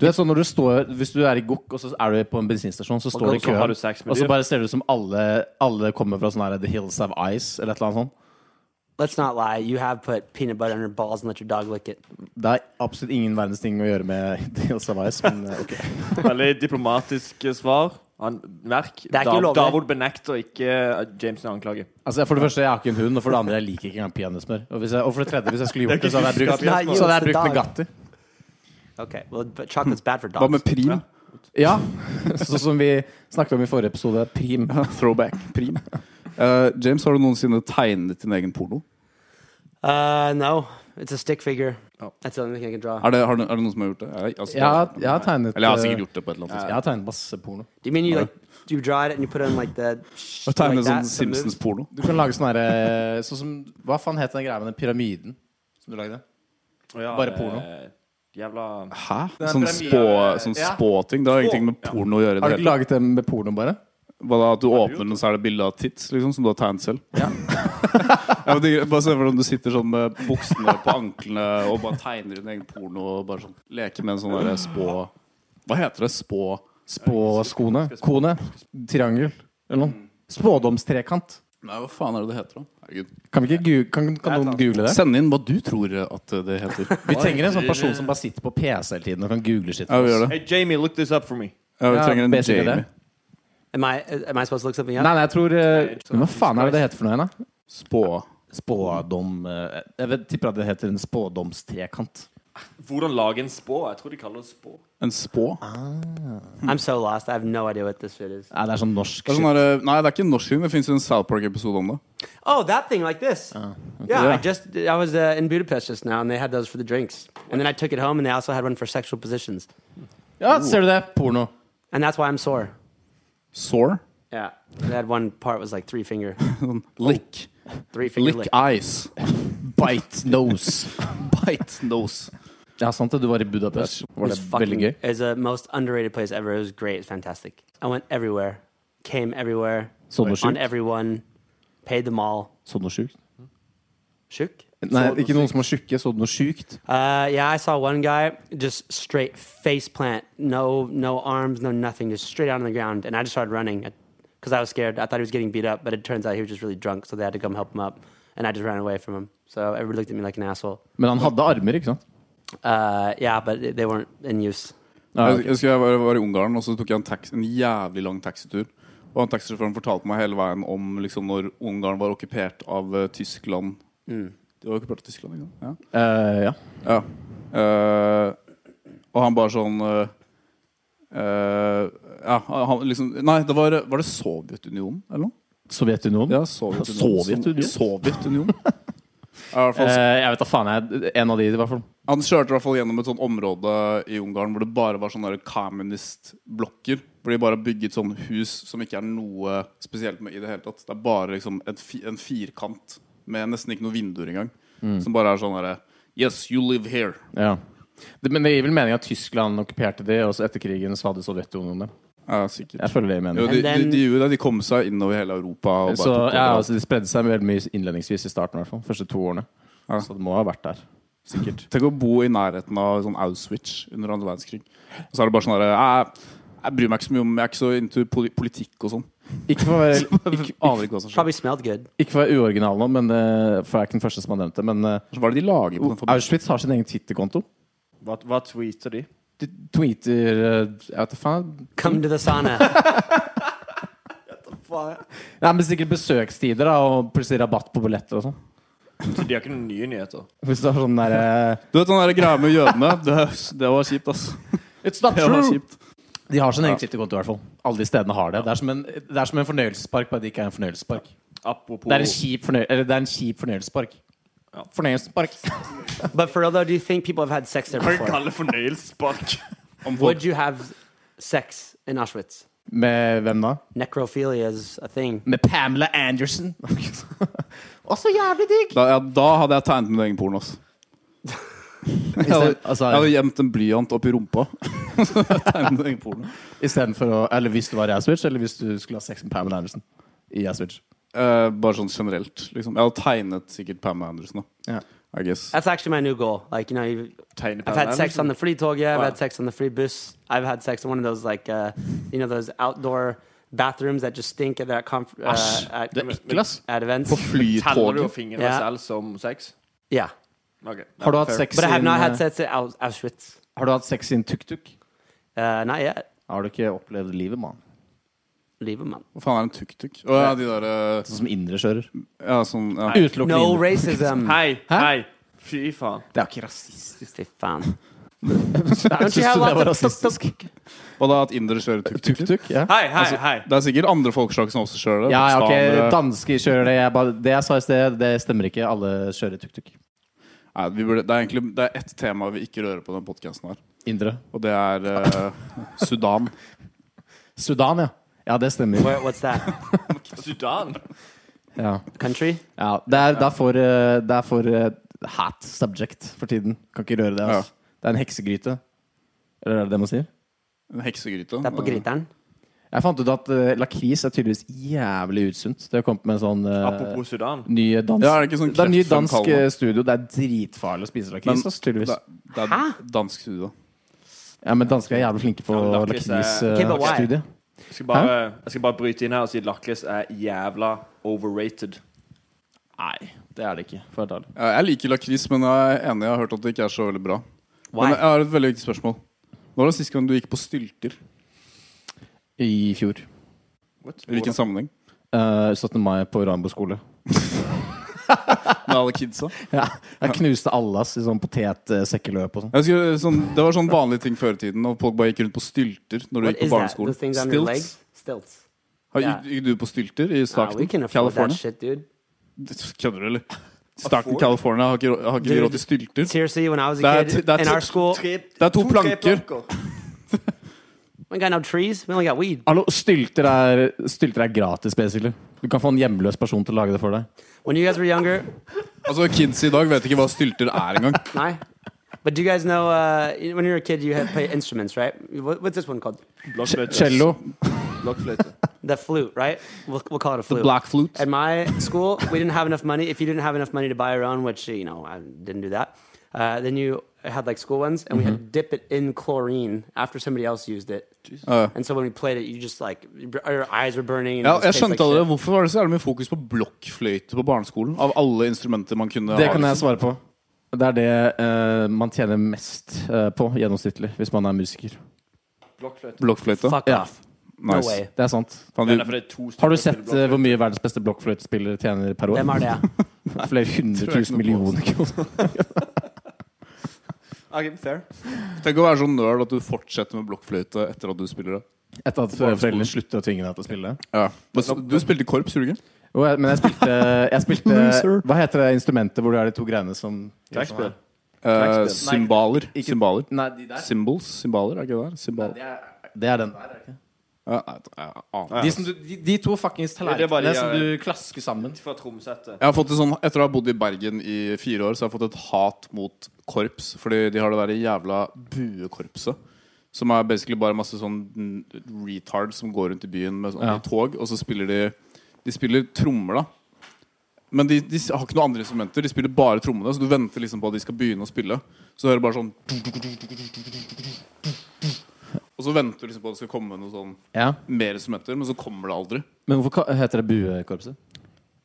Du vet sånn når du står, Hvis du er i gokk, og så er du på en bensinstasjon, så står du i
så har
køen,
du sex med
og så
dyr.
bare ser det ut som alle, alle kommer fra sånn her The Hills Have Eyes, eller et eller annet sånt.
Let's not lie. You have put peanut butter on your balls and let your dog lick it.
Det er absolutt ingen verdens ting å gjøre med The Hills Have Eyes, men eh, ok.
Veldig diplomatisk eh, svar. Han, merk.
er ikke ulovlig.
Davod benekter ikke eh, James' anklage.
Altså, for det første, jeg har ikke en hund, og for det andre, jeg liker ikke engang peanøttsmør. Og, hvis jeg- og for det tredje, hvis jeg skulle gjort det, så hadde jeg brukt,
It's not you,
så hadde jeg
it's the
brukt
dog.
Nugatti.
Okay. Well, but chocolate's bad for
Hva
dogs.
med prim?
Ja, sånn som vi snakket om i forrige episode. Prim.
Throwback. Prim. Eh, James, har du noensinne tegnet din egen porno?
Uh, no, it's a stick figure.
Oh.
That's the only thing I can draw.
Er det, har du, er det noen som har gjort det? Jeg, altså,
Jeg har, jeg har tegnet
Eller jeg har
eh,
sikkert gjort det på et eller annet tidspunkt.
Jeg har tegnet masse porno.
Do you mean you like? Do you draw it and you put it on like the? sh-
Jeg tegnet
like that, the
sånn
move?
Simpsons-porno.
Du kan lage sånn herre Sånn som Hva faen het den greia med den pyramiden som du lagde?
Ja,
Bare
eh,
porno.
Jævla
Hæ?
er
Sånn,
premiere-
spå, sånn
Ja.
spåting? Det har ingenting med porno å gjøre. i
Har
Det hele
du ikke laget den med porno, bare?
Hva da, At du åpner den, så er det bilde av tits liksom, som du har tegnet selv? Ja. men det, er- bare se hvordan du sitter sånn med buksene på anklene og bare tegner din egen porno og bare sånn leker med en sånn derre spå Hva heter det? Spå
Spåskoene. Kone. Triangel. Eller noe. Spådomstrekant.
Nei, hva faen er det det heter, da? Herregud.
Kan, vi ikke gu kan, kan noen google det?
Send inn hva du tror at det heter.
Vi trenger en sånn person som bare sitter på PC hele tiden og kan google shit.
Ja, vi gjør det.
Hey, Jamie, look this up for me.
Ja, vi
Ja,
trenger en
basically
Jamie.
det.
Am I? Am I supposed to look something up?
Nei, nei, jeg tror eh, men Hva faen er det det heter for noe igjen, da?
Spå.
Spådom eh, Jeg vet, tipper at det heter en spådomstrekant.
Hvordan lage en spå? Jeg tror de kaller det spå.
En spå?
I'm so lost. I have no idea what this shit is.
Nei, det er sånn norsk
Det er
shit.
sånn derre- nei, det er ikke en norsk film. Det fins en South Park-episode om det.
Oh, that thing like this. Yeah,
Yeah.
I just I was uh, in Budapest just now, and they had those for the drinks. And then I took it home, and they also had one for sexual positions.
Oh.
Ja, ser du det? Porno. Oh.
And that's why I'm sore.
Sore.
Yeah, they had one part was like three finger,
Lick.
three finger
Lick
lick.
eyes.
Bite nose.
Bite nose.
Ja, sant det. Du var i Budapest. Var det
It's
veldig gøy?
It's the most underrated place ever. It was great. It's fantastic. I went everywhere, came everywhere,
Så noe
on
sjukt?
everyone, paid them all.
Så noe sjukt?
Shook.
Nei, ikke noen som var tjukke. Så noe sjukt?
Uh, yeah, I saw one guy just straight face plant, no, no arms, no nothing, just straight out on the ground. And I just started running because I was scared. I thought he was getting beat up, but it turns out he was just really drunk, so they had to come help him up. And I just ran away from him. So everybody looked at me like an asshole.
Men han hadde armer, ikke sant?
Uh, yeah, but they weren't in use.
Ja,
Jeg, jeg husker jeg var, var i Ungarn, og så tok jeg en, taxi, en jævlig lang taxitur. Og han taxisjåføren fortalte meg hele veien om liksom, når Ungarn var okkupert av eh, Tyskland.
Mm.
De var okkupert av Tyskland, ikke sant? Ja.
Eh, ja.
Ja. Eh, og han bare sånn eh, eh, Ja, han liksom Nei, det var, var det Sovjetunionen, eller noe?
Sovjetunionen?
Ja, Sovjetunionen.
Sovjetunionen?
Sovjetunionen. Ja, i hvert fall,
Eh, jeg vet da faen. Jeg, en av de, i hvert fall.
Han kjørte i hvert fall gjennom et sånt område i Ungarn hvor det bare var sånne der communist-blokker. Hvor de bare har bygget sånne hus som ikke er noe spesielt med i det hele tatt. Det er bare liksom et, fi- en firkant med nesten ikke noen vinduer engang.
Mm.
Som bare er sånn herre Yes, you live here.
Ja. Det, men det gir vel mening at Tyskland okkuperte de, og så etter krigen så hadde Sovjetunionen det.
Ja, sikkert.
Jeg føler det gir
Jo,
mening.
de, de,
then-
de gjorde det. De kom seg innover hele Europa. Og bare
Så
tok over
ja,
alt.
altså, De spredde seg veldig mye innledningsvis i starten, i hvert fall. Første to årene. Så det må ha vært der. Sikkert.
Tenk å bo i nærheten av sånn Auschwitz under andre verdenskrig. Og så er det bare sånn herre jeg, jeg bryr meg ikke så mye om Jeg er ikke så into poli politikk og sånn.
Ikke for å være, ikke,
Ikke- Aner ikke hva som skjer.
Probably smelled good.
ikke for å være uoriginal nå, men, eh, for jeg er ikke den første som har nevnt det, men eh,
Hva er det de lager på den fabrikken?
Auschwitz har sin egen Twitter-konto.
Hva, hva tweeter de?
De tweeter eh, Jeg vet da faen.
Come to the sauna.
Nei, men Sikkert besøkstider da og plutselig rabatt på billetter og sånn.
Så de har ikke noen nye nyheter.
Hvis du har sånn der eh,
Du vet den der greia med jødene? Det, det var kjipt, ass.
It's not
Det var
true!
kjipt.
De har sin egen Twitter-konto, i hvert fall. Alle de stedene har det. Det er som en, det er som en fornøyelsespark, bare det ikke er en fornøyelsespark.
Apropos
Det er en kjip, fornøy, eller det er en kjip fornøyelsespark. Fornøyelsespark.
but for real though, do you think people have had sex there
Hva
before?
kaller fornøyelsespark?
Would you have sex in Auschwitz?
Med hvem da?
Necrophilia is a thing.
Med Pamela Anderson. Også jævlig digg!
Da, ja, da hadde jeg tegnet min egen porno, ass. Jeg hadde,
Altså,
altså,
jeg hadde gjemt en blyant oppi rumpa. Tegnet en porno.
Istedenfor å Eller hvis du var i Aswitch, eller hvis du skulle ha sex med Pamela Anderson i Aswitch.
Eh, bare sånn generelt. Liksom. Jeg hadde tegnet sikkert Pam Anderson, da.
Ja.
I guess.
That's actually my new goal. Like, you know, you
Tegne
I've
Pamela
had sex on the free toga. I've
Wow.
had sex on the free bus. I've had sex in one of those, like, uh, you know, those outdoor bathrooms that just stink at that conf- uh,
Æsj,
at,
det er ekkelt, ass.
at events.
Teller du
Flytoget.
fingrene
Ja.
selv som sex?
Yeah.
Ok.
Har du
Ja,
hatt
fair.
sex
But I have
in
not had
eh,
sex at Aus- Auschwitz.
Har du hatt sex in tuk-tuk?
Uh, not yet.
Har du ikke opplevd livet, mann?
Leave him on.
Hva faen er en tuk-tuk? Å ja, de derre
Sånn som indreskjører.
ja, sånn, ja.
Utelukkende
No
indre.
racism.
Hei, hei! Fy faen.
Det er jo ikke rasistisk.
Fy faen.
Jeg
you
syns
have
du det
lots
var
of
rasistisk?
Hva da, at indere kjører tuk-tuk?
Tuk-tuk? Ja.
Hei, hei, hei!
Det er sikkert andre folkeslag som også kjører det.
Ja, ja, ok,
Pakistanere.
dansker kjører det. Jeg bare, det jeg sa i sted, det stemmer ikke. Alle kjører tuk-tuk.
Nei, vi burde, det er egentlig det er ett tema vi ikke rører på den podkasten her,
Indre.
og det er eh, Sudan.
Sudan, ja. Ja, det stemmer.
Where, what's that?
Sudan?
Ja.
Country?
Ja, det er, det er for, eh, det er for eh, hat subject for tiden. Kan ikke røre det. Altså. Det er en heksegryte. Eller er det det man sier?
En heksegryte.
Det er på gryteren.
Jeg fant ut at eh, lakris er tydeligvis jævlig utsunt. Det kom med en sånn eh,
Apropos Sudan.
ny dans.
Ja, er det ikke sånn
det er en ny dansk
kreftfremkallende?
eh, studio. Det er dritfarlig å spise lakris.
Men-
ass, tydeligvis.
Det, det er dansk studio.
Ja, men dansker er jævlig flinke på eh,
Ja, men lakris er-
Okay, but why?
lakrisstudiet.
Jeg skal, bare, jeg skal bare bryte inn her og si lakris er jævla overrated.
Nei, det er det ikke. For å være ærlig.
Ja, Jeg liker lakris, men jeg er enig. Jeg har hørt at det ikke er så veldig bra.
Why?
Men jeg har et veldig viktig spørsmål. Når var det sist gang du gikk på stylter?
I fjor.
I hvilken sammenheng?
Eh, 17. mai på Rambo skole.
Med alle kidsa?
Jeg knuste alle ass, i sånn potetsekkeløp og sånn.
Jeg husker, sånn, det var sånn vanlig ting før i tiden, og folk bare gikk rundt på stylter når du
What
gikk på
is that?
barneskolen.
Those things on your
Stilts?
legs? Stilts.
Har,
Yeah.
gikk, gikk du på stylter
Nah,
i
we
Stockton,
can afford that
California?
shit, dude.
Kødder du, eller? Stockton, California har ikke, rå- har ikke
Dude.
råd til stylter.
Seriously, when I was a
That-
kid
that's
in our
it.
school, we
Det er to planker.
ain't got no trees. We only got weed.
Hallo, stylter er, stylter er gratis, basically. Du kan få en hjemløs person til å lage det for deg.
When you guys were younger,
Altså, Kids i dag vet ikke hva stylter er engang.
I. But do you guys know uh, you- when you were a kid, you had to play instruments, right? What, what's this one called?
Cello.
Blokkfløyte.
The flute, right? We'll, we'll call it a flute.
Black flute.
At my school, we didn't have enough money. If you didn't have enough money to buy your own, which you know I didn't do that, uh, then you had like school ones, and we
Mm-hmm.
had to dip it in chlorine after somebody else used it.
Uh.
And so when we played it, you just like your eyes were burning. And
Ja,
it just
jeg
tastes
skjønte
like
allerede
shit.
Hvorfor var det så jævlig mye fokus på blokkfløyte på barneskolen? Av alle instrumenter man kunne
Det
ha,
kan jeg
liksom.
svare på. Det er det eh, man tjener mest eh, på gjennomsnittlig hvis man er musiker.
Blokkfløyte.
Blokkfløyte?
Fuck
Ja.
off. No
Nice.
way.
Det er sant.
Faen,
Det
vi-
er derfor det er to stykker
Har du
som
sett
spiller
eh, hvor mye verdens beste blokkfløytespillere tjener per
Hvem
år?
er det?
Flere hundre
Tror jeg ikke noe
tusen
på.
millioner kroner. Ah,
blokkfløyte. Ok, fair.
Tenk å være sånn nerd at du fortsetter med blokkfløyte etter at du spiller det.
Etter at foreldrene slutter å tvinge deg til å spille.
Ja. Men Du spilte i korps, gjorde du ikke?
Jo, jeg- Men jeg spilte, jeg spilte Hva heter det instrumentet hvor det er de to greiene som
Trekkspill.
Eh,
Nei,
Symbaler.
ikke-
Symbaler.
Nei, de der.
Symbols? Symbaler, er ikke det der? Symbal.
Det er, det er den der, er det ikke?
Ja, nei, jeg aner
De,
ikke.
som du, de, de to fuckings
Det er bare de,
tallerkenene som
ja.
du klasker sammen.
Fra tromsettet.
Jeg har fått et sånn, Etter å ha bodd i Bergen i fire år, så har jeg fått et hat mot korps. Fordi de har det der jævla buekorpset. Som er basically bare masse sånn mm, retards som går rundt i byen med sånn
Ja.
i tog, og så spiller de De spiller trommer, da. Men de, de har ikke noen andre instrumenter. De spiller bare trommene, så du venter liksom på at de skal begynne å spille. Så du hører bare sånn Og så venter du liksom på at det skal komme noe sånn
Ja.
mer instrumenter, men så kommer det aldri.
Men hvorfor ka- heter det buekorpset?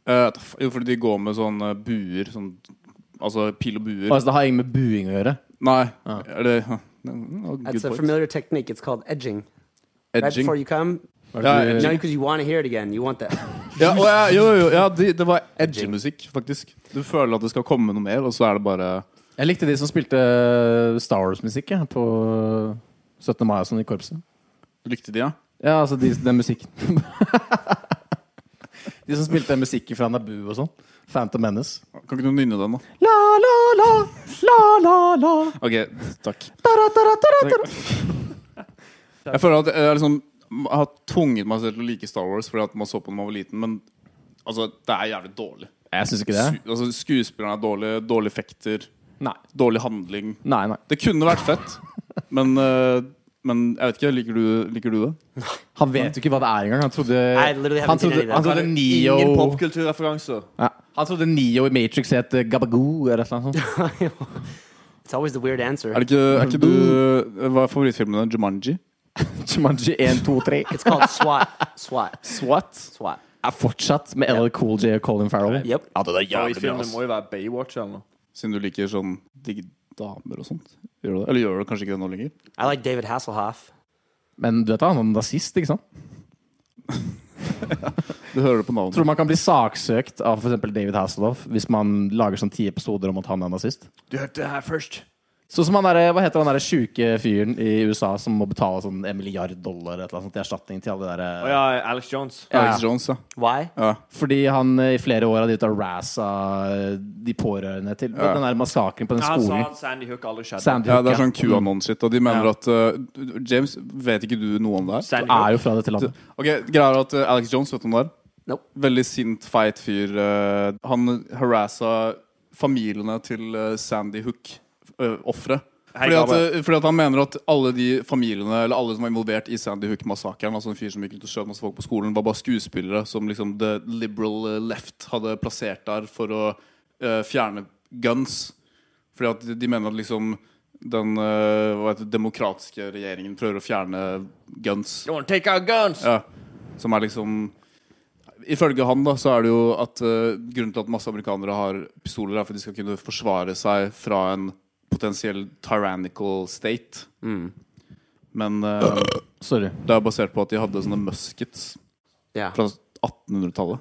Eh, ta f- Jo, fordi de går med sånn eh, buer sånn, Altså pil og buer.
Altså, det har ingen med buing å gjøre.
Nei, er det ja, no, Good
That's a
point.
familiar technique. It's called edging. Right
Edging.
before you come,
Ja,
you know,
edging.
because you want to hear it again. You want that.
Ja, og jeg- jo, jo, ja de, det var edgy-musikk, faktisk. Du føler at det skal komme noe mer, og så er det bare
Jeg likte de som spilte eh, Star Wars-musikk jeg, på 17. mai og sånn i korpset.
Likte de, ja?
Ja, altså de, den musikken De som spilte musikk fra Nabu og sånn. Phantom Menace.
Kan ikke du nynne den, da?
La, la, la, la, la, la.
Ok, takk.
Da, da, da, da, da, da.
Jeg føler at jeg liksom har tvunget meg selv til å like Star Wars fordi at man så på den da man var liten, men altså, det er jævlig dårlig.
Jeg syns ikke det.
Su altså, skuespillerne er dårlige, dårlige effekter.
Nei.
Dårlig handling.
Nei, nei.
Det kunne vært fett, men, eh, men jeg vet ikke. Liker du, liker du det?
Han vet jo ikke hva det er engang. Han trodde,
I literally haven't
han
seen
trodde,
any of
han
that.
trodde
Ingen
Neo
popkulturreferanser.
ja. Han trodde Neo i Matrix het eh, Gabagoo eller et eller annet sånt.
It's always the weird answer.
Er, det ikke, er ikke du eh, Hva er favorittfilmen din? Jumanji?
Jumanji 1, 2, 3.
It's called SWAT. SWAT.
SWAT.
SWAT.
Er fortsatt med LL Cool J og Colin Farrell.
Yep.
Ja, det er jævlig bra,
Favorittfilmen
ass.
må jo være Baywatch eller noe.
Siden du liker sånn digge damer og sånt. Gjør du det? Eller gjør du kanskje ikke det nå lenger?
I like David Hasselhoff.
Men du vet da, han er nazist, ikke sant?
Du hører det på navnet.
Tror du man kan bli saksøkt av f.eks. David Hasselhoff hvis man lager sånn ti episoder om at han er nazist?
Du hørte det her først.
Sånn som han der, Hva heter han derre sjuke fyren i USA som må betale sånn en milliard dollar eller et eller annet sånt i erstatning til alle de eh, derre
Å ja, Alex Jones.
Ja,
Alex Jones, ja.
Why?
ja.
Fordi han eh, i flere år hadde gitt rassa de pårørende til
Ja.
den der massakren på den
Han sa
skolen.
at Sandy Hook aldri skjedde.
Sandy
ja det er
Hook,
sånn QAnon-shit, og de mener
Ja.
at eh, James, vet ikke du noe om det her?
Sandy
Er
Hook.
jo fra dette landet.
Ok, Greia er at eh, Alex Jones, vet du om det er?
Nope.
Veldig sint, feit fyr. eh, han harassa familiene til eh, Sandy Hook-ofre.
Hei,
Fordi, at,
Gabe.
eh, fordi at han mener at alle de familiene Eller alle som var involvert i Sandy Hook-massakren, altså en fyr som gikk ut og skjøt masse folk på skolen, var bare skuespillere som liksom the liberal eh, left hadde plassert der for å eh, fjerne guns. Fordi at de mener at liksom den eh, hva heter det, demokratiske regjeringen prøver å fjerne guns.
You wanna take our guns?
Ja, som er liksom Ifølge han da, så er det jo at eh, grunnen til at masse amerikanere har pistoler, er for at de skal kunne forsvare seg fra en potensiell tyrannical state.
Mm.
Men eh,
Sorry.
det er basert på at de hadde sånne muskets
Yeah.
fra 1800-tallet.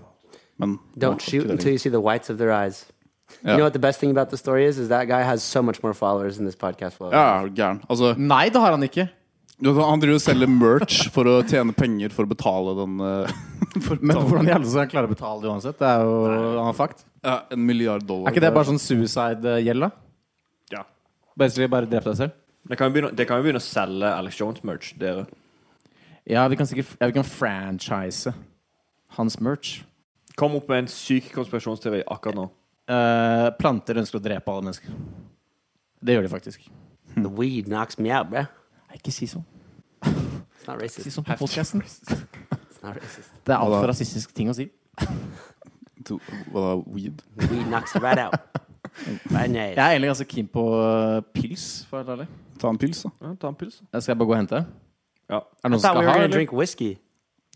Men
Don't shoot until you see the whites of their eyes.
Ja.
You know what the best thing about the story is? Is that guy has so much more followers in this podcast. Flow.
Ja, er du gæren. Altså,
Nei, det har han ikke.
du vet, han driver og selger merch for å tjene penger for å betale den eh, for å
Men
betale-
hvordan i alle skal han klare å betale det uansett? Det er jo han har fakt.
ja, En milliard dollar.
Er ikke det bare sånn suicide-gjeld, da?
Ja.
Basically bare drep deg selv?
Det kan jo begynne, det kan jo begynne å selge Alex Jones-merch, dere.
Ja, vi kan sikkert ja, vi kan franchise hans merch.
Kom opp med en syk konspirasjonsteori akkurat nå.
Eh, planter ønsker å drepe alle mennesker. Det gjør de faktisk.
The weed knocks me out, bruh.
Nei, ikke si sånn.
It's not racist.
Si sånn på podcasten.
It's not racist.
Det er altfor rasistisk ting å si.
To- Hva da? Weed?
The weed knocks you right out. Right in your
Jeg
ass.
er egentlig ganske keen på eh, pils. For å være ærlig.
Ta en pils, da.
Ja, ta en pils.
Jeg skal bare gå og hente.
Ja.
Er det
I
noen som
thought we
skal
were
ha,
going to
eller?
drink whiskey.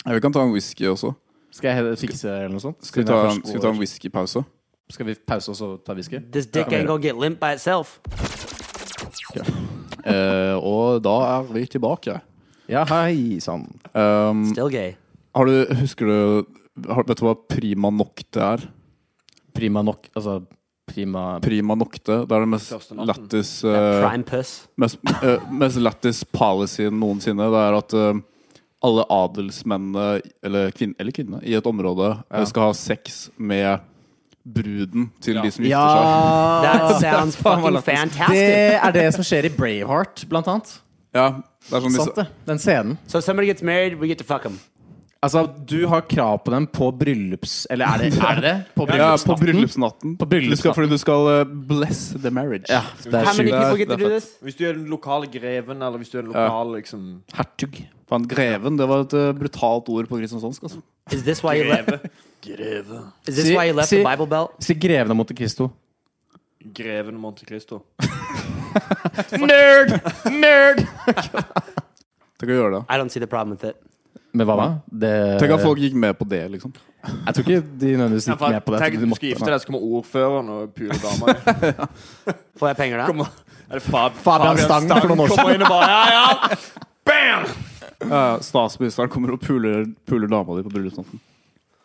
Ja, vi kan ta en whisky også.
Skal jeg he- fikse eller noe sånt?
Skal vi
Siden jeg
ta,
først
skal vi ta
går-
en whiskypause?
skal vi pause og så ta whisky?
This dick ain't going to get limp by itself.
Eh, og da er vi tilbake.
Ja, hei sann.
Um,
Still gay.
har du, husker du har, Vet du hva prima nocte er?
Prima nok. Altså prima
Prima nocte det er den mest
Første natten.
lættis eh,
Prime puss.
mest, eh, mest lættis policyen noensinne. Det er at eh, alle adelsmennene, eller, kvinn, eller kvinnene, i et område eh, skal ha sex med bruden til de som gifter seg.
That sounds fucking
lettuce.
fantastic.
Det er det som skjer i Braveheart, blant annet.
Ja, det er sånn
Sant
disse,
det? Den scenen.
So if somebody gets married, we get to fuck him.
Altså, du har krav på dem på bryllups... Eller er det er det? det? På
ja, på
bryllupsnatten?
bryllupsnatten.
På bryllupsnatten.
Du skal, fordi du skal eh, bless the marriage.
Ja, det er
How many
sjukt.
people get
Det
to
er
do
fett.
this?
Hvis du er den lokale greven, eller hvis du er den lokale liksom
Hertug.
Faen, greven, det var et eh, brutalt ord på Kristiansandsk. Altså.
Is this why you left?
Greve.
Is this
See-
why you left
see-
the Bible Belt?
Si Greven av Monte Cristo.
Greven av Monte Cristo.
Nerd! Nerd!
Tenk å gjøre det.
I don't see the problem with it.
Men hva da? Det,
Tenk at folk gikk med på det, liksom.
Jeg tror ikke de nødvendigvis gikk med på det.
Tenk
Jeg
at
tror
du
de
skal
måtte.
gifte deg, så kommer ordføreren og puler dama.
Får jeg penger da?
Kommer- Er det Fab
Fabian Stang for noen år siden.
Kommer inn og bare Ja, ja! Bam!
Ja, Statsministeren kommer og puler, puler dama di på bryllupsnatten.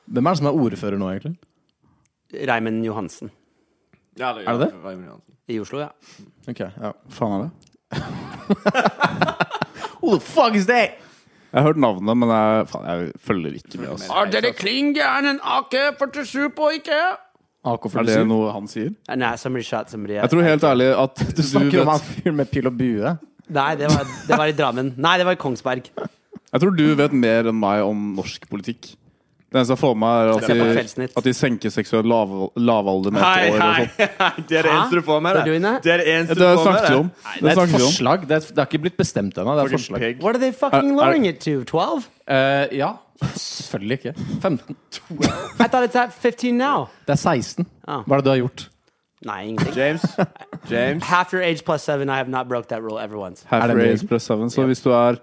Hvem er det som er ordfører nå, egentlig?
Raymond Johansen
Ja, det
Er det det?
gjør Raymond Johansen.
i Oslo, ja.
Ok, ja
Faen er det?
Who the fuck is that?
Jeg har hørt navnet, men jeg, faen, jeg følger ikke med. Altså.
Er dere
Er det
AK-47?
noe han sier?
Uh, Nei, somebody shot somebody.
Jeg tror helt ærlig at du,
Snakker om han
vet,
fyren med pil og bue?
Nei, det var, det var i Drammen. Nei, det var i Kongsberg.
jeg tror du vet mer enn meg om norsk politikk. Det eneste jeg får med,
Se på
er at de,
Kveldsnytt.
at de senker seksuell lav, lavalder med
Hei,
et år. Og
hei,
sånt.
hei! Det er det
Hæ?
eneste du får med
They're doing
deg.
that?
Det er det
Det
eneste du får
snakket vi om.
med deg.
Det er et
snakket vi om.
forslag. Det er, det er ikke blitt bestemt ennå. Det er et forslag.
Pig.
What are they fucking
Er- er-
lowering it to? 12?
Eh, ja. Selvfølgelig ikke. 15.
I thought it's at 15 now.
Det er 16.
Ah.
Hva er det du har gjort?
Nei, ingenting.
James. James.
Half your age plus seven. I have not broke that rule ever once.
Half
Er det mye?
raised plus seven. Så hvis du er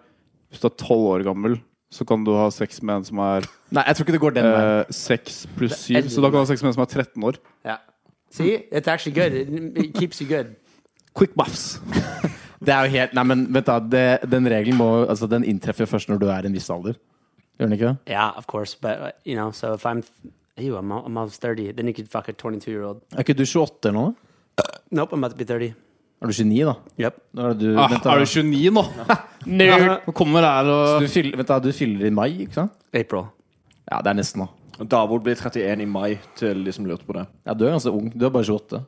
Hvis du er 12 år gammel, så kan du ha sex med en som er
Nei, jeg tror ikke det går den veien.
eh, 6 pluss 7. Så da kan du ha sex med en som er 13 år.
Yeah. See, it's actually good. It, it keeps you good.
Quick buffs.
Det er jo helt Nei, men vet du, hva, det, den regelen må Altså, den inntreffer jo først når du er i en viss alder. Gjør den ikke det?
Yeah, of course. But, uh, you know, so if I'm, ew, I'm, al- I'm almost 30, then you could fuck a 22 year old.
Er ikke du 28 eller noe?
Nope, I'm about to be 30.
Er du 29, da?
Yep.
Nå er du,
Ah,
vent, da.
er du 29 nå? Nå kommer her og
du fyller, vent da, du fyller i mai, ikke sant?
April.
Ja, det er nesten, da.
Davor blir 31 i mai, til de som lurte på det.
Ja, du er ganske ung. Du er bare 28.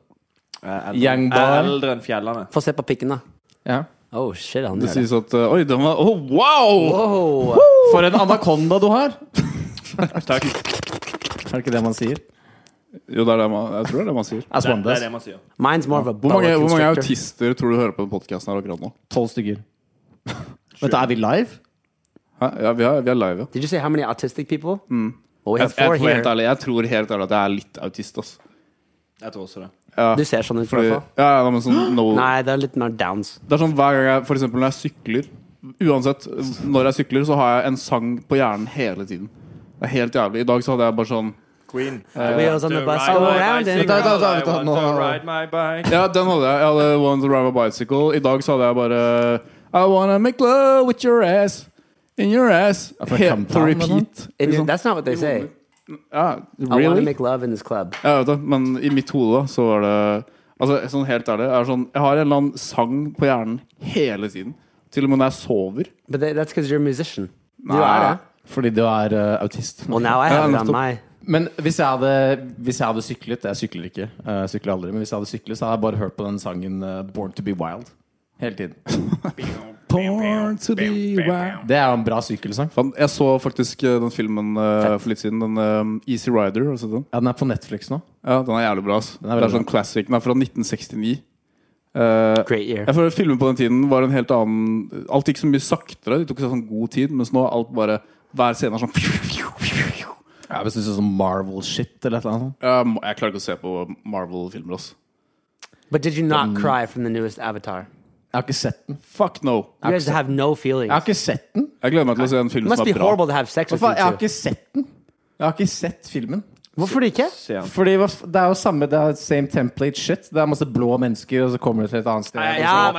Jeg er Eh, eldre-
Young boy.
jeg er Eldre enn fjellene.
Få se på pikken, da.
Ja.
Oh, shit. Han
Det
gjør det.
sies at eh, Oi, den var oh, Wow!
Oh,
For en anakonda du har!
Takk.
Er det ikke det man sier?
Jo, det er det man, jeg tror det er det man sier.
As
Det
one
er
does.
det man sier.
mine's more of a
Hvor mange,
boa
hvor mange
constrictor.
autister tror du hører på den podkasten her akkurat nå?
Tolv stykker. Vent, da, er vi live?
Hæ? Ja, vi er, vi er live, ja.
Did you say how many autistic people? Well, we
Jeg,
have
jeg,
four
tror helt
here.
ærlig, jeg tror helt ærlig at jeg er litt autist, ass.
Jeg tror også det.
Du ser sånn ut, i
Fordi,
hvert
ja,
fall.
ja, nei, men sånn, no,
Nei, det er litt mer downs.
Det er sånn hver gang jeg, for eksempel når jeg sykler Uansett, når jeg sykler så har jeg en sang på hjernen hele tiden Det er helt jævlig I dag så hadde jeg bare sånn
Queen.
Eh,
Wheels on the bus go around and
Vent, vent, vent, vent, nå-
Ja, den hadde jeg Jeg hadde One to Ride My Bicycle I dag så hadde jeg bare I wanna make love with your ass In your ass
for
Helt på
Campan,
repeat
And That's not what they say.
Ja,
I want to
really?
make love in this club.
Jeg vet det, men i mitt hode da så var det Altså, sånn helt ærlig jeg, er sånn, jeg har en eller annen sang på hjernen hele tiden Til og med når jeg sover
But that- that's because you're a musician.
Nei.
You are that.
Fordi du er eh, autist.
Well, now I have it on
nettopp.
my.
Men hvis jeg hadde, hvis jeg hadde syklet Jeg sykler ikke, eh, jeg sykler aldri. Men hvis jeg hadde syklet, så hadde jeg bare hørt på den sangen eh, 'Born to be Wild' hele tiden.
Born to be wild
Det er jo en bra sykkelsang.
Fan, jeg så faktisk eh, den filmen eh, for litt siden. Den eh, Easy Rider. Har du sett den?
Ja, Den er på Netflix nå.
Ja, den er jævlig bra. Ass.
er
det er
veldig
sånn classic. Den er fra 1969. Eh,
Great year.
jeg føler Filmen på den tiden var en helt annen Alt gikk så mye saktere. Det tok seg sånn god tid, mens nå er alt bare Hver scene er sånn
Ja, hvis du synes sånn Marvel-shit eller et eller annet. sånt.
Jeg må- Jeg klarer ikke å se på Marvel-filmer, ass.
But did you not cry from the newest Avatar?
Jeg har ikke sett den.
Fuck no.
You guys have no feelings.
Jeg har ikke sett den!
Jeg gleder meg til å se en film
It must
som
be
er bra.
horrible to have sex
Hva
with
faen, jeg har
you two.
ikke sett den! Jeg har ikke sett filmen.
Hvorfor ikke?
Fordi hva f- Det er jo samme, det er same template shit. Det er masse blå mennesker, og så kommer du til et annet sted.
Ja.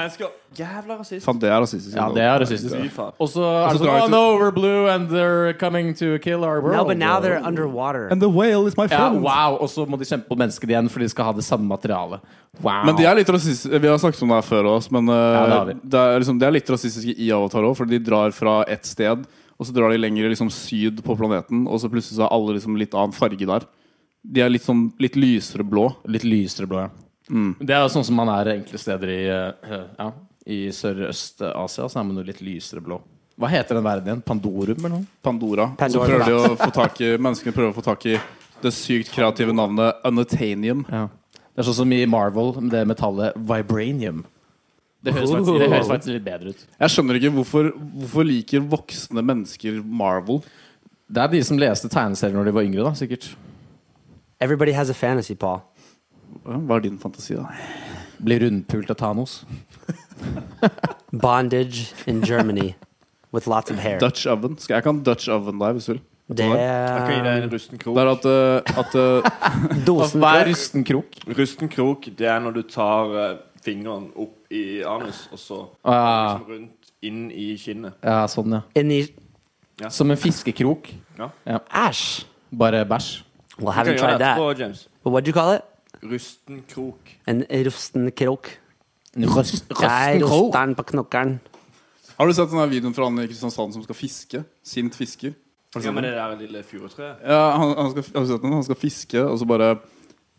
Jævla rasist.
Fan, det er rasistisk.
Ja, det er rasistisk.
Fy faen.
Og så er det
drar jeg
sånn
til-
Oh no, we're blue and they're coming to kill our world.
No, but now they're underwater.
And the whale is my
Ja,
friend.
wow, Og så må de kjempe på mennesket igjen, for de skal ha det samme materialet. Wow.
Men de er litt rasistiske Vi har snakket om det her før også, men eh,
Ja, det har vi.
det er liksom, de er litt rasistiske i Avatar òg, for de drar fra ett sted, og så drar de lenger liksom, syd på planeten, og så plutselig så er alle liksom, litt annen farge der. De er litt, sånn, litt lysere blå.
Litt lysere blå, ja. Det er jo sånn som man er enkelte steder i eh, ja, I Sørøst-Asia, så er man jo litt lysere blå. Hva heter den verden igjen? Pandorum, eller noe?
Pandora.
Pandora.
Så prøver de å få tak i menneskene prøver å få tak i det sykt kreative navnet Unatanium.
Det er sånn som i Marvel, det metallet vibranium. Det høres, faktisk, det høres faktisk litt bedre ut.
Jeg skjønner ikke hvorfor, hvorfor liker voksne mennesker Marvel.
Det er de som leste tegneserier når de var yngre, da, sikkert.
Everybody has a fantasy, Paul.
Hva er din fantasi, da?
Blir rundpult av Thanos.
Bondage in Germany with lots of hair.
Dutch oven. Skal jeg kan Dutch oven deg, hvis du vil.
Kan jeg gi deg
Damn.
en rusten
Det
krok?
er at, eh, at eh,
Dosen
Hva er rusten krok?
Rusten krok, det er når du tar eh, fingeren opp i anus, og så
Ah.
liksom rundt inn i kinnet.
Ja, sånn, ja.
Oh.
in the
Som en fiskekrok,
ash.
bare bæsj.
Well,
Du kan
haven't
gjøre
tried
det
that.
etterpå, James.
But what'd you call it?
Rusten krok.
En rusten krok.
Røst,
Jeg
krok.
roster den på knokkeren.
Har du sett den der videoen fra han i Kristiansand som skal fiske? Sint fisker.
Ja, men det der lille furutreet.
Ja, han, han, skal, har du sett den? han skal fiske, og så bare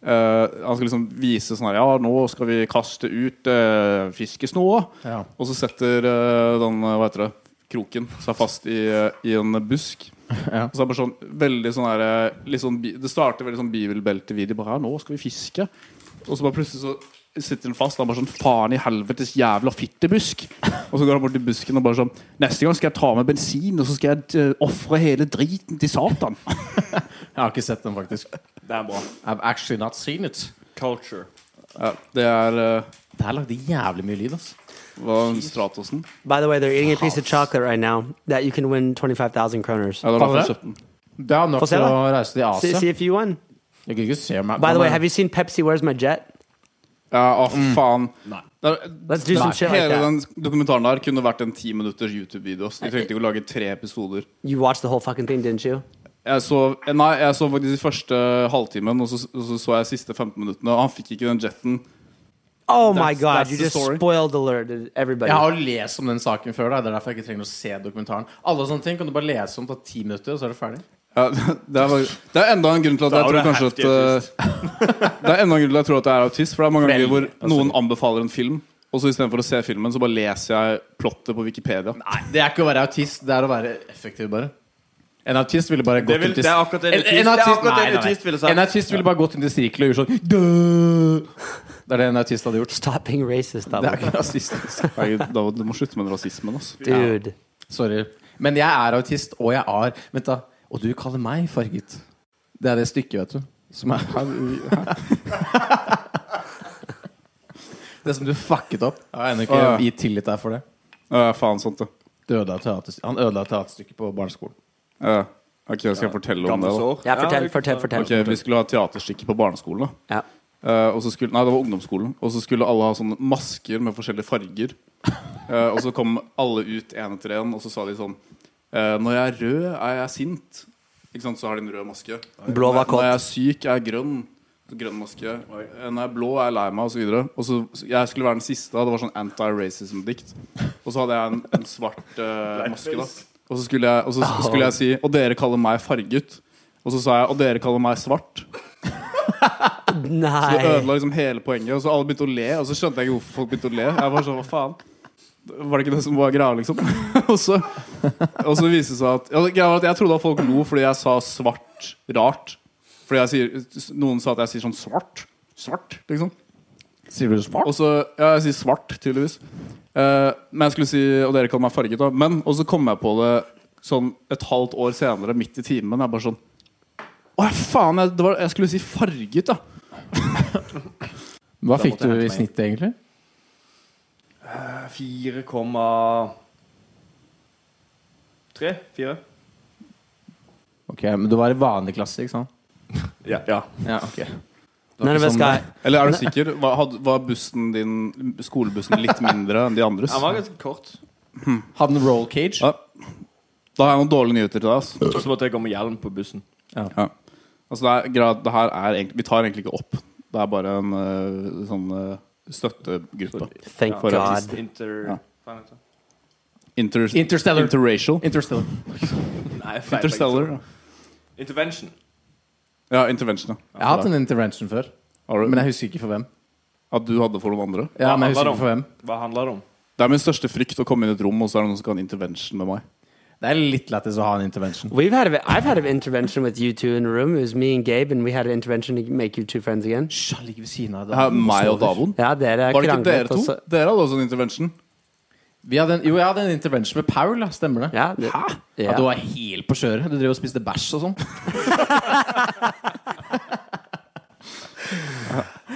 eh, Han skal liksom vise sånn her Ja, nå skal vi kaste ut uh, fiskesnåa.
Ja.
Og så setter eh, den eh, Hva heter det? kroken. Sa fast i, eh, i en busk. Og så er det bare sånn veldig sånn her eh, litt sånn, bi- Det starter veldig sånn bibelbeltevideo. Bare her, nå skal vi fiske. Og så bare plutselig så sitter den fast. Han bare sånn Faen i helvetes jævla fittebusk. Og så går han bort til busken og bare sånn Neste gang skal jeg ta med bensin, og så skal jeg uh, ofre hele driten til Satan.
Jeg har ikke sett den, faktisk.
Det er bra.
I've actually not seen it.
Culture.
Ja, det er uh,
Der lagde jævlig mye lyd,
altså.
ass.
var Stratosen.
By the way, they're eating a piece of chocolate right now that you can win 25,000 kroners.
Ja, det var
Faller
derfor jeg
det?
kjøpte den.
Det er nok
Få se,
til å
da.
reise til
See, see
Asia.
if you won.
Jeg kan ikke se meg
By the way, have you seen Pepsi Where's My Jet?
Ja, å, faen. Det er,
Let's do some
Nei,
shit like
hele
that.
den dokumentaren der kunne vært en ti minutters YouTube-video. ass. De trengte ikke å lage tre episoder.
You watched the whole fucking thing, didn't you?
Jeg så, nei, jeg så faktisk de første halvtimen, og så og så, så jeg de siste 15 minuttene. Og han fikk ikke den jetten.
Oh my
That's-
god,
that's
you
the
just
story.
spoiled alerted everybody.
Jeg har jo lest om den saken før. Da. Det er derfor jeg ikke trenger å se dokumentaren. Alle sånne ting kan du bare lese om på ti minutter, og så er du ferdig.
Ja, det, er, bare- det er enda en grunn til at
Da
jeg tror
er du
kanskje at
heftig
eh, Det er enda en grunn til at jeg tror at jeg er autist. For det er mange ganger hvor
Veldig, altså.
noen anbefaler en film, og så istedenfor å se filmen, så bare leser jeg plottet på Wikipedia.
Nei, det er ikke å være autist. Det er å være effektiv, bare. En autist ville bare gått
vil-
inn til
det er akkurat det en autist- det er akkurat det en autist ville sagt.
En autist ville bare gått inn til sirkelen og gjort sånn «Dø!» Det er det en autist hadde gjort.
Stop being racist,
Det er
Double.
ikke altså. rasistisk.
Herregud, da, du må slutte med den rasismen. ass.
Dude.
Sorry. Men jeg er autist, og jeg er Vent, da. Og du kaller meg farget. Det er det stykket, vet du. Som er Det som du fucket opp. Jeg har ennå ikke
Åh.
gitt tillit deg for det.
Ja, faen, sant det.
Du ødela teaterst- Han ødela teaterstykket på barneskolen.
Ja. Ok, skal jeg fortelle om det? da?
Ja, fortell,
vi-
fortell, fortell.
Ok, Vi skulle ha teaterstykke på barneskolen. da
Ja.
Eh, og så skulle, nei, det var ungdomsskolen. Og så skulle alle ha sånne masker med forskjellige farger. Eh, og så kom alle ut en etter en, og så sa de sånn eh, Når jeg er rød, er jeg sint. Ikke sant, Så har de en rød maske.
Blå var
når, når jeg
kåt.
er syk, er jeg grønn. Så Grønn maske. Eh, Når jeg er blå, er jeg lei meg, osv. Og så, så jeg skulle være den siste. da Det var sånn anti-racism-dikt. Og så hadde jeg en, en svart eh, maske. da Og så skulle jeg, og så skulle jeg si Og dere kaller meg farget. Og så sa jeg Og dere kaller meg svart. Så det
Nei.
ødela liksom hele poenget, og så alle begynte å le. Og så skjønte jeg ikke hvorfor folk begynte å le. Jeg var sånn, hva faen? Var det ikke det som var greia, liksom? og, så, og så viste det seg at ja, greia var at Jeg trodde at folk lo fordi jeg sa svart rart. Fordi jeg sier, Noen sa at jeg sier sånn svart. Svart, liksom.
Sier du smart?
Og så, ja, jeg sier svart, tydeligvis. Eh, men jeg skulle si Og dere kaller meg farget, da. Men, og så kom jeg på det sånn et halvt år senere, midt i timen. Jeg bare sånn Å, ja, faen! Jeg, det var, jeg skulle si farget, da.
Hva
Da
fikk
måtte jeg
du i
hente meg.
snitt, egentlig?
4,3? 4?
Ok, Men du var i vanlig klasse, ikke sant?
Ja. ja.
Ja, ok
None of us got.
Eller er du sikker? Var, had- var bussen din, skolebussen litt mindre enn de andres?
Den var ganske kort.
Hadde den roll cage?
Ja. Da har jeg noen dårlige nyheter til deg. ass.
Og så måtte jeg gå med hjelm på bussen.
Altså, det er, grad- det her er egentlig, vi tar egentlig ikke opp. Det er bare en eh, sånn eh, støttegruppe.
Thank
For
God.
Inter...
Ja.
Hva heter det?
Inter,
Interstellar.
Interracial.
Interstellar.
Nei, feil, begge
Interstellar.
to.
ja.
Intervention.
Ja, intervention, ja.
Jeg har hatt en intervention før,
Har du-
men jeg husker ikke for hvem.
At du hadde for noen andre?
Ja, men jeg
handler
husker
det
ikke for hvem
Hva handler det om?
Det er min største frykt å komme inn i et rom, og så er det noen som skal ha en intervention med meg.
Det er litt lættis å ha en intervention.
We've had a, I've had an intervention with you two in a room. It was me and Gabe, and we had an intervention to make you two friends again. uh,
Hysj, han ligger ved siden av
Det er meg og
Sover.
Davon.
Ja, dere
Var det ikke
kranglet,
dere
og
to?
så-
Dere hadde også en intervention.
Vi hadde en, jo, jeg hadde en intervention med Paul, ja. stemmer det?
Ja, det-
Hæ?
ja.
Ja. du var helt på kjøret. Du drev og spiste bæsj og sånn.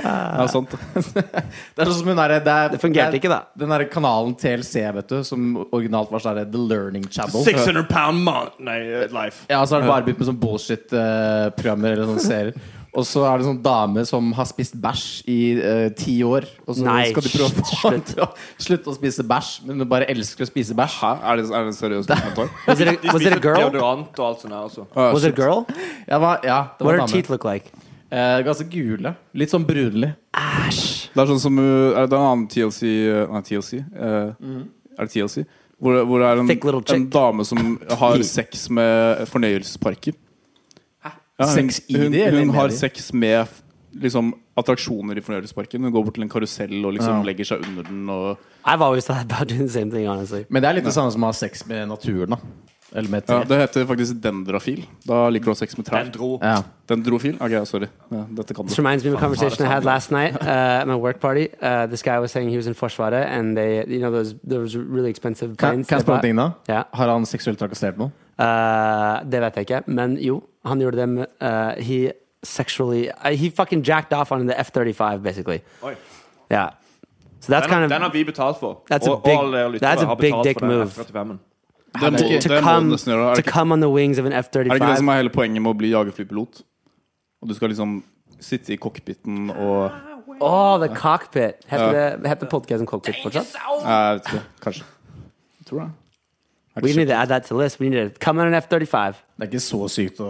Ja, sant.
Det er sånn som hun der, det, er,
Det fungerte
det er-
ikke, da.
Den derre kanalen TLC, vet du, som originalt var sånn der The Learning Channel.
600 pound man... Nei, eh, life.
Ja, så har det bare begynt med sånn bullshit-programmer eller sånne serier. Og så er det sånn dame som har spist bæsj i eh, ti år. Og så
Nei,
skal de prøve å få henne
slutt.
til å slutte å spise bæsj, men hun bare elsker å spise bæsj.
Hæ? Er det, er det en seriøs kommentar?
Was it a, was it a girl?
Deodorant og alt sånt her også.
Ah,
Was it a
shit.
girl?
Jeg var, ja,
What
det var
did her
en dame.
teeth look like?
Eh, ganske gule. Litt sånn brunlig.
Det er sånn som uh, Er det en annen TLC uh, Nei, TLC? eh,
Mm.
Er det TLC? Hvor, hvor det er en,
Thick little chick.
en dame som har sex med fornøyelsesparker. Ja, hun,
Sex i de,
hun,
eller
hun
med
har
de?
sex med f- liksom, attraksjoner i fornøyelsesparken. Hun går bort til en karusell og liksom
Ja.
legger seg under den. Og,
I've always thought about doing the same thing, honestly.
Men det er litt det samme som å ha sex med naturen, da. Eller
ja,
med tre.
det heter faktisk dendrafil. Da liker du å ha sex med trær.
Dendro.
Ja.
Dendrofil? Ok, ja, sorry. Ja, dette kan du.
This reminds me of a conversation I had last night uh, at my work party. Uh, this guy was saying he was in Forsvara, and they, you know, those those really expensive
Kan,
planes.
kan
they
jeg
bought.
spørre om ting, da?
Ja.
Har han seksuelt trakassert noen?
Uh, det vet jeg ikke, men jo, han gjorde det med uh, He sexually uh, He fucking jacked off on the F-35, basically.
Oi.
Yeah. So that's
Den, har-
kind of
den har vi betalt for.
That's a
og,
big-
og alle lyttere
that's a
har
big
betalt
dick
for den
move.
F-35-en.
Det må,
to,
det må du
come,
nesten gjøre. Er
to
det, ikke,
come on the wings of an
er det ikke det
F-35.
som er hele poenget med å bli jagerflypilot? Og du skal liksom sitte i cockpiten og
Oh, the cockpit. Heter det- heter podcasten cockpit fortsatt?
Nei, Jeg vet ikke. Kanskje. Jeg Tror det. Er
We
det
need to add that to the list. We need to come on an F-35.
Det er ikke så sykt å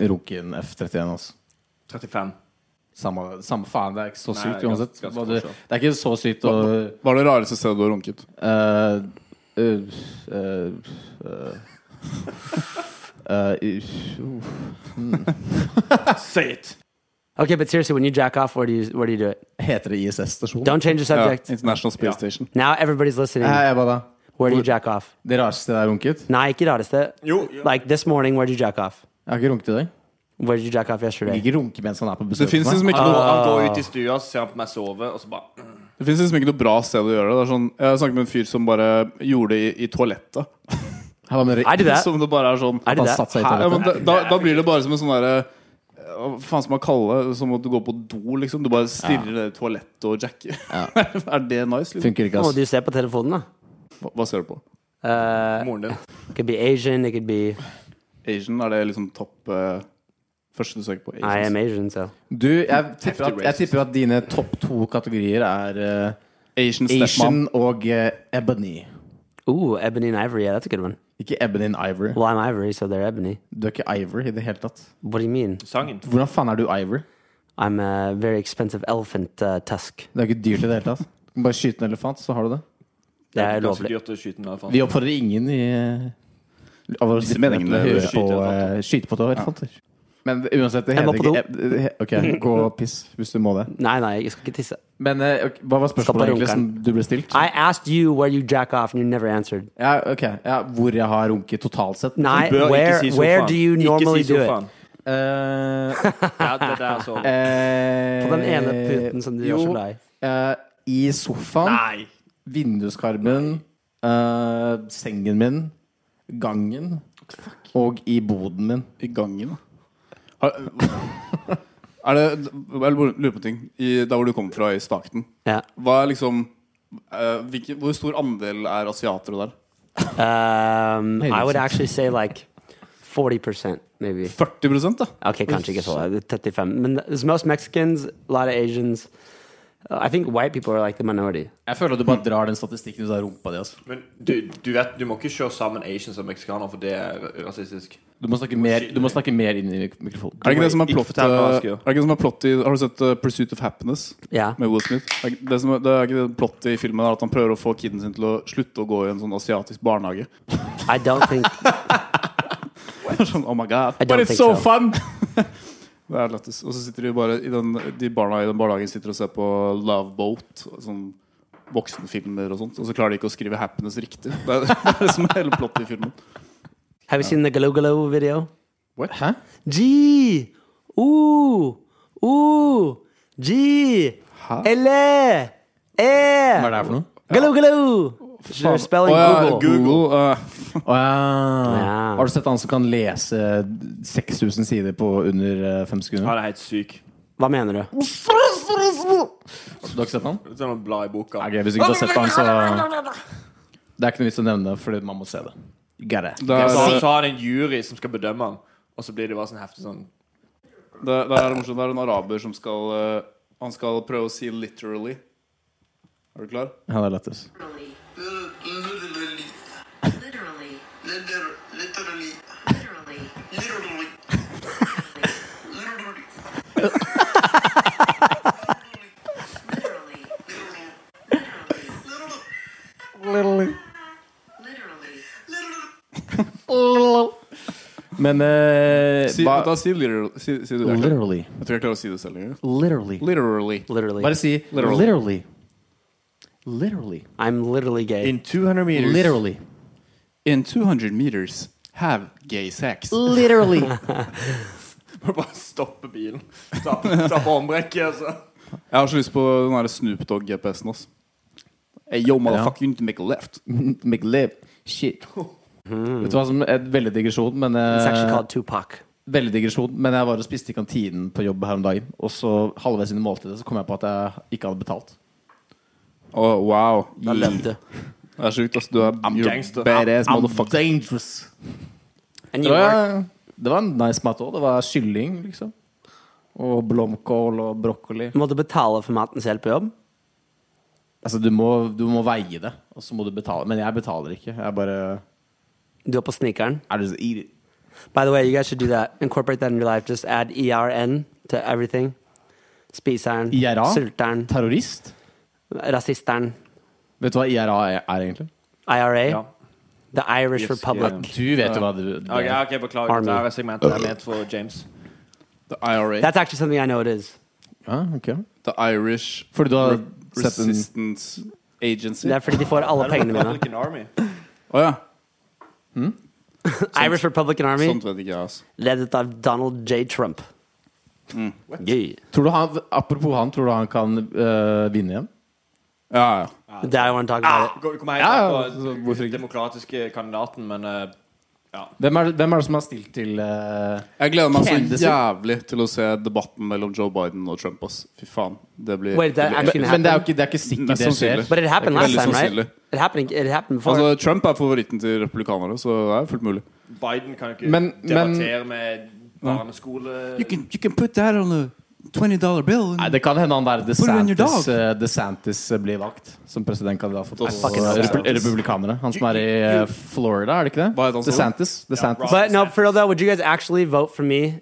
runke en F31, altså.
35.
Samme, samme faen, det er ikke så
Nei,
sykt
ganske-
uansett.
ganske
Hva du,
fortsatt.
det er ikke så sykt å
Hva er det rareste stedet du har runket?
øh, øh, øh, øh, øh, øh,
Say it!
Okay, but seriously, when you jack off, where do you where do you do it?
Heter det ISS-stasjon?
Don't change the
Ja,
subject.
International Space Station.
Now everybody's listening.
Nei, jeg bare da.
where do you jack off?
Det rareste jeg har runket?
Nah, ikke det rareste.
Jo, jo.
Like this morning, where did you jack off?
Jeg har ikke runket i dag.
Where did you jack off
Jeg
yesterday?
vil ikke runke mens han er på
Det
besøk.
fins
hos meg.
liksom ikke
Og
noe
han
Ah.
går ut i stua, så ser han på meg sove, og så bare mm,
Det finnes liksom ikke noe bra sted å gjøre det. det er sånn, jeg har snakket med en fyr som bare gjorde det i, i toalettet.
Han var med i-
I do that.
Som det bare er sånn
I do
Han
that.
satt seg i
Hæ? Ja, men
toalettet.
da, da, da blir det bare som en sånn derre eh, Hva faen skal man kalle det? Som at du går på do, liksom. Du bare stirrer ned i toalettet og jacker. er det nice? Liksom?
Funker ikke,
Hva må
ass.
du se på telefonen, da?
Hva, hva ser du på?
Uh,
Moren din.
it could be Asian, it could be
Asian? Er det liksom topp eh, første du søker på?
I am
Asians.
Asian, so.
Du, jeg tipper, at, jeg
racist.
tipper at dine topp to kategorier er eh,
Asian stepmom.
Asian og eh, Ebony.
Ooh, ebony and ivory. Yeah, that's a good one.
Ikke Ebony and Ivory.
Well, I'm ivory, so they're ebony.
Du er ikke Ivory i det hele tatt.
What do you mean?
Sangen.
Hvordan faen er du Ivory?
I'm a very expensive elephant uh, tusk.
Det er ikke dyrt i det hele tatt. Du kan bare skyte en elefant, så har du det.
Det er
ganske
lovlig.
dyrt å skyte den der. faen.
Vi oppfordrer ingen i eh, av våre
Disse
lyttere
meningene
til å høre
hører
på
skyte elefanter.
eh, skyte på elefanter. Men uansett, det
Jeg må
heter
på
ikke Eb- det he- Ok, gå og piss hvis du må det.
Nei, nei, jeg skal ikke tisse.
Men eh, ok, hva var
Skal på
spørsmålet egentlig som
runkeren.
du ble stilt?
I asked you where you jack off, and you never answered.
Ja, ok, ja, Hvor jeg har runket totalt sett?
Nei,
Bør ikke
where,
si sofaen.
where do you
Ikke
normally
si
do it?
sofaen.
Eh,
Ja, det der er så
eh,
På den ene puten som du gjør så
jo,
glad i.
eh, I sofaen.
Nei!
Vinduskarmen, eh, sengen min, gangen og i boden min.
I gangen, da. Har, er det Jeg lurer på en ting. I, der hvor du kommer fra, i Stakten.
Ja.
Hva er liksom eh, hvilke, Hvor stor andel er asiatere der?
Um, I would
Høydeutsikten.
actually say like 40%, maybe.
40 da?
Okay, country gets a lot. 35. Men there's most Mexicans, a lot of Asians. Uh, I think white people are like the minority.
Jeg føler at du bare drar den statistikken ut av rumpa di. Altså.
Men du, du vet, du må ikke kjøre sammen Asians og meksikanere, for det er rasistisk.
Du, må snakke mer, du må snakke mer inn i mik- mikrofonen.
Er det ikke det som er
Ikke
plott,
fortell hva jeg skal
eh,
gjøre.
er det ikke det som er plott i Har du sett eh, 'Pursuit of Happiness'
Yeah.
med Will Smith? Er ikke- Det, som er, det er ikke det plottet i filmen er at han prøver å få kiden sin til å slutte å gå i en sånn asiatisk barnehage.
I don't think
sånn, oh my god
I don't think so.
fun! det er lættis. Og så sitter de bare i den, de barna i den barnehagen sitter og ser på Love Boat. Sånn voksenfilmer og sånt. Og så klarer de ikke å skrive 'happiness' riktig. Det er det, er det som er hele plottet i filmen.
Have you seen the Galo Galo video?
Hæ?
Gee! Ooh! Ooh! Gee!
Hæ?
Elle!
Hva er
Eh!
det her for noe?
Galo Galo! They're spelling
Å ja,
Google.
Google eh,
Å, ja.
Ja.
Har du sett han som kan lese 6000 sider på under eh, fem sekunder?
Han er helt syk.
Hva mener du?
Du har ikke sett han?
Det er noe blad i boka.
Ok, hvis ikke du har sett han, så Det er ikke noe vits å nevne det, fordi man må se det. You got it.
det,
Så,
er,
så har han en jury som skal bedømme han, og så blir det bare sånn heftig sånn
det, det er morsomt. Det er en araber som skal eh, Han skal prøve å si 'literally'. Er du klar?
Han er lættis.
Literally.
Literally,
Literally.
liter- literally,
Literally.
literally, literally,
Literally.
literally,
Literally.
literally,
Literally.
literally.
Men eh,
Si,
ba-
da, si, literal, si, si det der.
Literally.
Jeg tror jeg klarer å si det selv engang.
Literally.
Literally.
Literally.
Bare si
Literally.
literally. Literally.
I'm literally gay.
In 200 meters.
Literally.
In 200 meters have gay sex.
Literally.
Må bare stoppe bilen. Ta, ta på håndbrekket, altså.
Jeg har så lyst på den der Snoop Dogg-GPS-en. ass. Hey, yo, motherfucker, you need to make a left.
McLib. Shit. Vet du hva som er veldig digresjon, men
It's actually
eh,
called Tupac.
Veldig digresjon, men jeg var og spiste i kantinen på jobb her om dagen. Og så halvveis inn i måltidet så kom jeg på at jeg ikke hadde betalt.
Oh, wow.
Da løp du.
Det er sjukt, ass. Du er
I'm
you're
gangster.
badass
I'm
motherfucker.
dangerous.
And
Det
you work.
var, det var en nice mat òg. Det var kylling, liksom. Og blomkål og brokkoli.
Må du betale for maten selv på jobb?
Altså, du må, du må veie det, og så må du betale. Men jeg betaler ikke. Jeg bare
Du er på snikeren.
I just eat it.
By the way, you guys should do that. Incorporate that in your life. Just add ERN to everything. Spiseren.
E
IRA?
Sulteren.
Terrorist?
Rasisteren.
Vet du hva IRA er, er egentlig?
IRA.
Ja.
The Irish
Yes,
E
Republic.
yeah.
Du vet jo hva du det
Ok,
er.
ok, Beklager.
Army.
Det her er segmentet jeg mente for James.
The IRA.
That's actually something I know it is.
Ja, ok.
The Irish
Fordi du har
Re-
sett en
Resistance Agency.
Det er
Å
fordi de får alle pengene mine.
Republican Army.
ja.
Irish Republican Army,
Sånt vet ikke jeg, ass.
ledet av Donald J. Trump.
Mm.
Yeah.
Tror du han, Apropos han, tror du han kan øh, vinne igjen?
Ja, ja.
Det er jo en takk
Ah!
for det.
Går- Kommer helt
Ja,
an på
så hvorfor ikke?
demokratiske kandidaten, men eh,
Hvem er, hvem er det som har stilt til øh,
Jeg gleder meg så
Candace.
jævlig til å se debatten mellom Joe Biden og Trump. Ass. Fy faen. Det blir
Wait, det er
det blir-
actually-
men, men det er jo ikke, det er ikke sikkert
Mest
det skjer.
sannsynlig.
But it happened
Det er
last
ikke
time,
veldig
right?
sannsynlig.
It happened, it happened before.
Altså, Trump er favoritten til republikanere, så det er fullt mulig.
Biden kan jo ikke
Men- men-
debattere med barneskole...
can, you can put that on a $20 bill.
Nei, Det kan hende han der
Hvor er
DeSantis,
New
øh, DeSantis blir valgt som presidentkandidat for
Dos-
for, øh,
DeSantis.
repu- republikanere. Han som er i øh, Florida, er det ikke det?
Hva heter han som-
DeSantis. DeSantis.
Rob-
But no, for real though, would you guys actually vote for me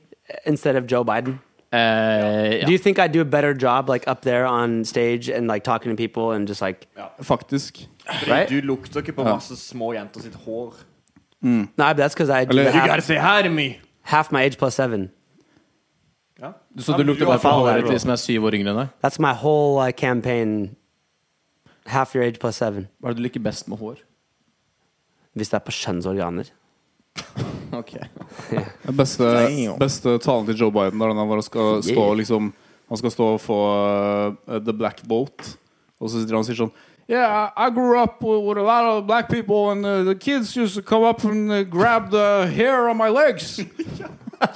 instead of Joe Biden?
Eh, ja.
Do you think I do a better job, like up there on stage and like talking to people and just like?
Faktisk.
Fordi
Right?
Du lukter ikke på masse små jenter sitt hår.
No, but that's because I do
Eller-
half,
say hi to me!
half my age plus seven.
Ja.
Så du lukter
har
bare på
faen,
håret liksom.
det er
til de som er syv år yngre enn deg?
That's my whole uh, campaign. Half your age plus seven.
Hva er det du liker best med hår?
Hvis det er på kjønnsorganer.
Ok
Den beste,
Damn.
beste talen til Joe Biden er den hvor han skal stå
Yeah.
liksom Han skal stå og få uh, The Black Boat, og så sitter han og sier sånn Yeah, I I grew up with with a lot of black people, and uh, the kids used to come up and uh, grab the hair on my legs.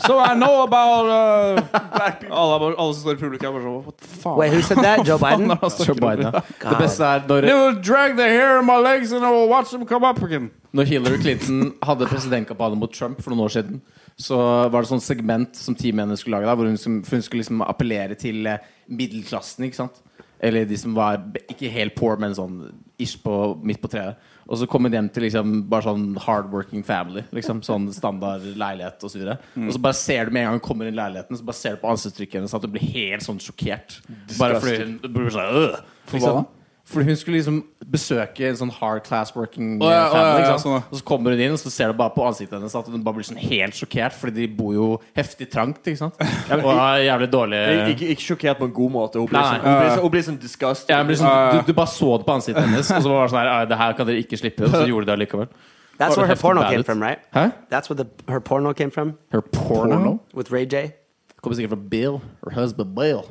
So I know about uh, black people. Alle, er bare- alle som står i publikum, er bare sånn What the fuck?
Wait, who said that? Joe Biden?
Joe Biden, ja. Det beste er når,
They will drag the hair on my legs and I will watch them come up again.
Når Hillary Clinton hadde presidentkampanje mot Trump for noen år siden, så var det sånn segment som teamet hennes skulle lage, der, hvor hun, som- for hun skulle liksom appellere til eh, middelklassen. ikke sant? Eller de som var b- ikke helt poor, men sånn ish på, midt på treet. Og så kom hun hjem til liksom bare sånn hardworking family. liksom Sånn standard leilighet osv. videre Og så bare ser du med en gang hun kommer inn i leiligheten, så bare ser du på ansiktstrykket hennes at hun blir helt sånn sjokkert. Bare fordi hun blir sånn øh, liksom. Fordi hun skulle liksom besøke en sånn hard class working
Å ja, å ja,
family. ikke
ja,
sant?
sånn, ja.
Og så kommer hun inn, og så ser du bare på ansiktet hennes at hun bare blir sånn helt sjokkert, fordi de bor jo heftig trangt. ikke sant? Og er jævlig dårlig
Ikke, ikke sjokkert på en god måte. Hun blir
Nei,
sånn,
nei.
hun blir sånn, hun blir sånn disgusted.
ja, hun blir sånn, du, du bare så det på ansiktet hennes, og så var det sånn her «Ai, Det her kan dere ikke slippe. Og så gjorde de det allikevel.
That's
Or
where her
heftig
porno
bad
came
ut.
from, right?
Hæ?
That's where the her porno came from
Her porno?
with Ray J.
Kommer sikkert fra Bill. Her husband Bill.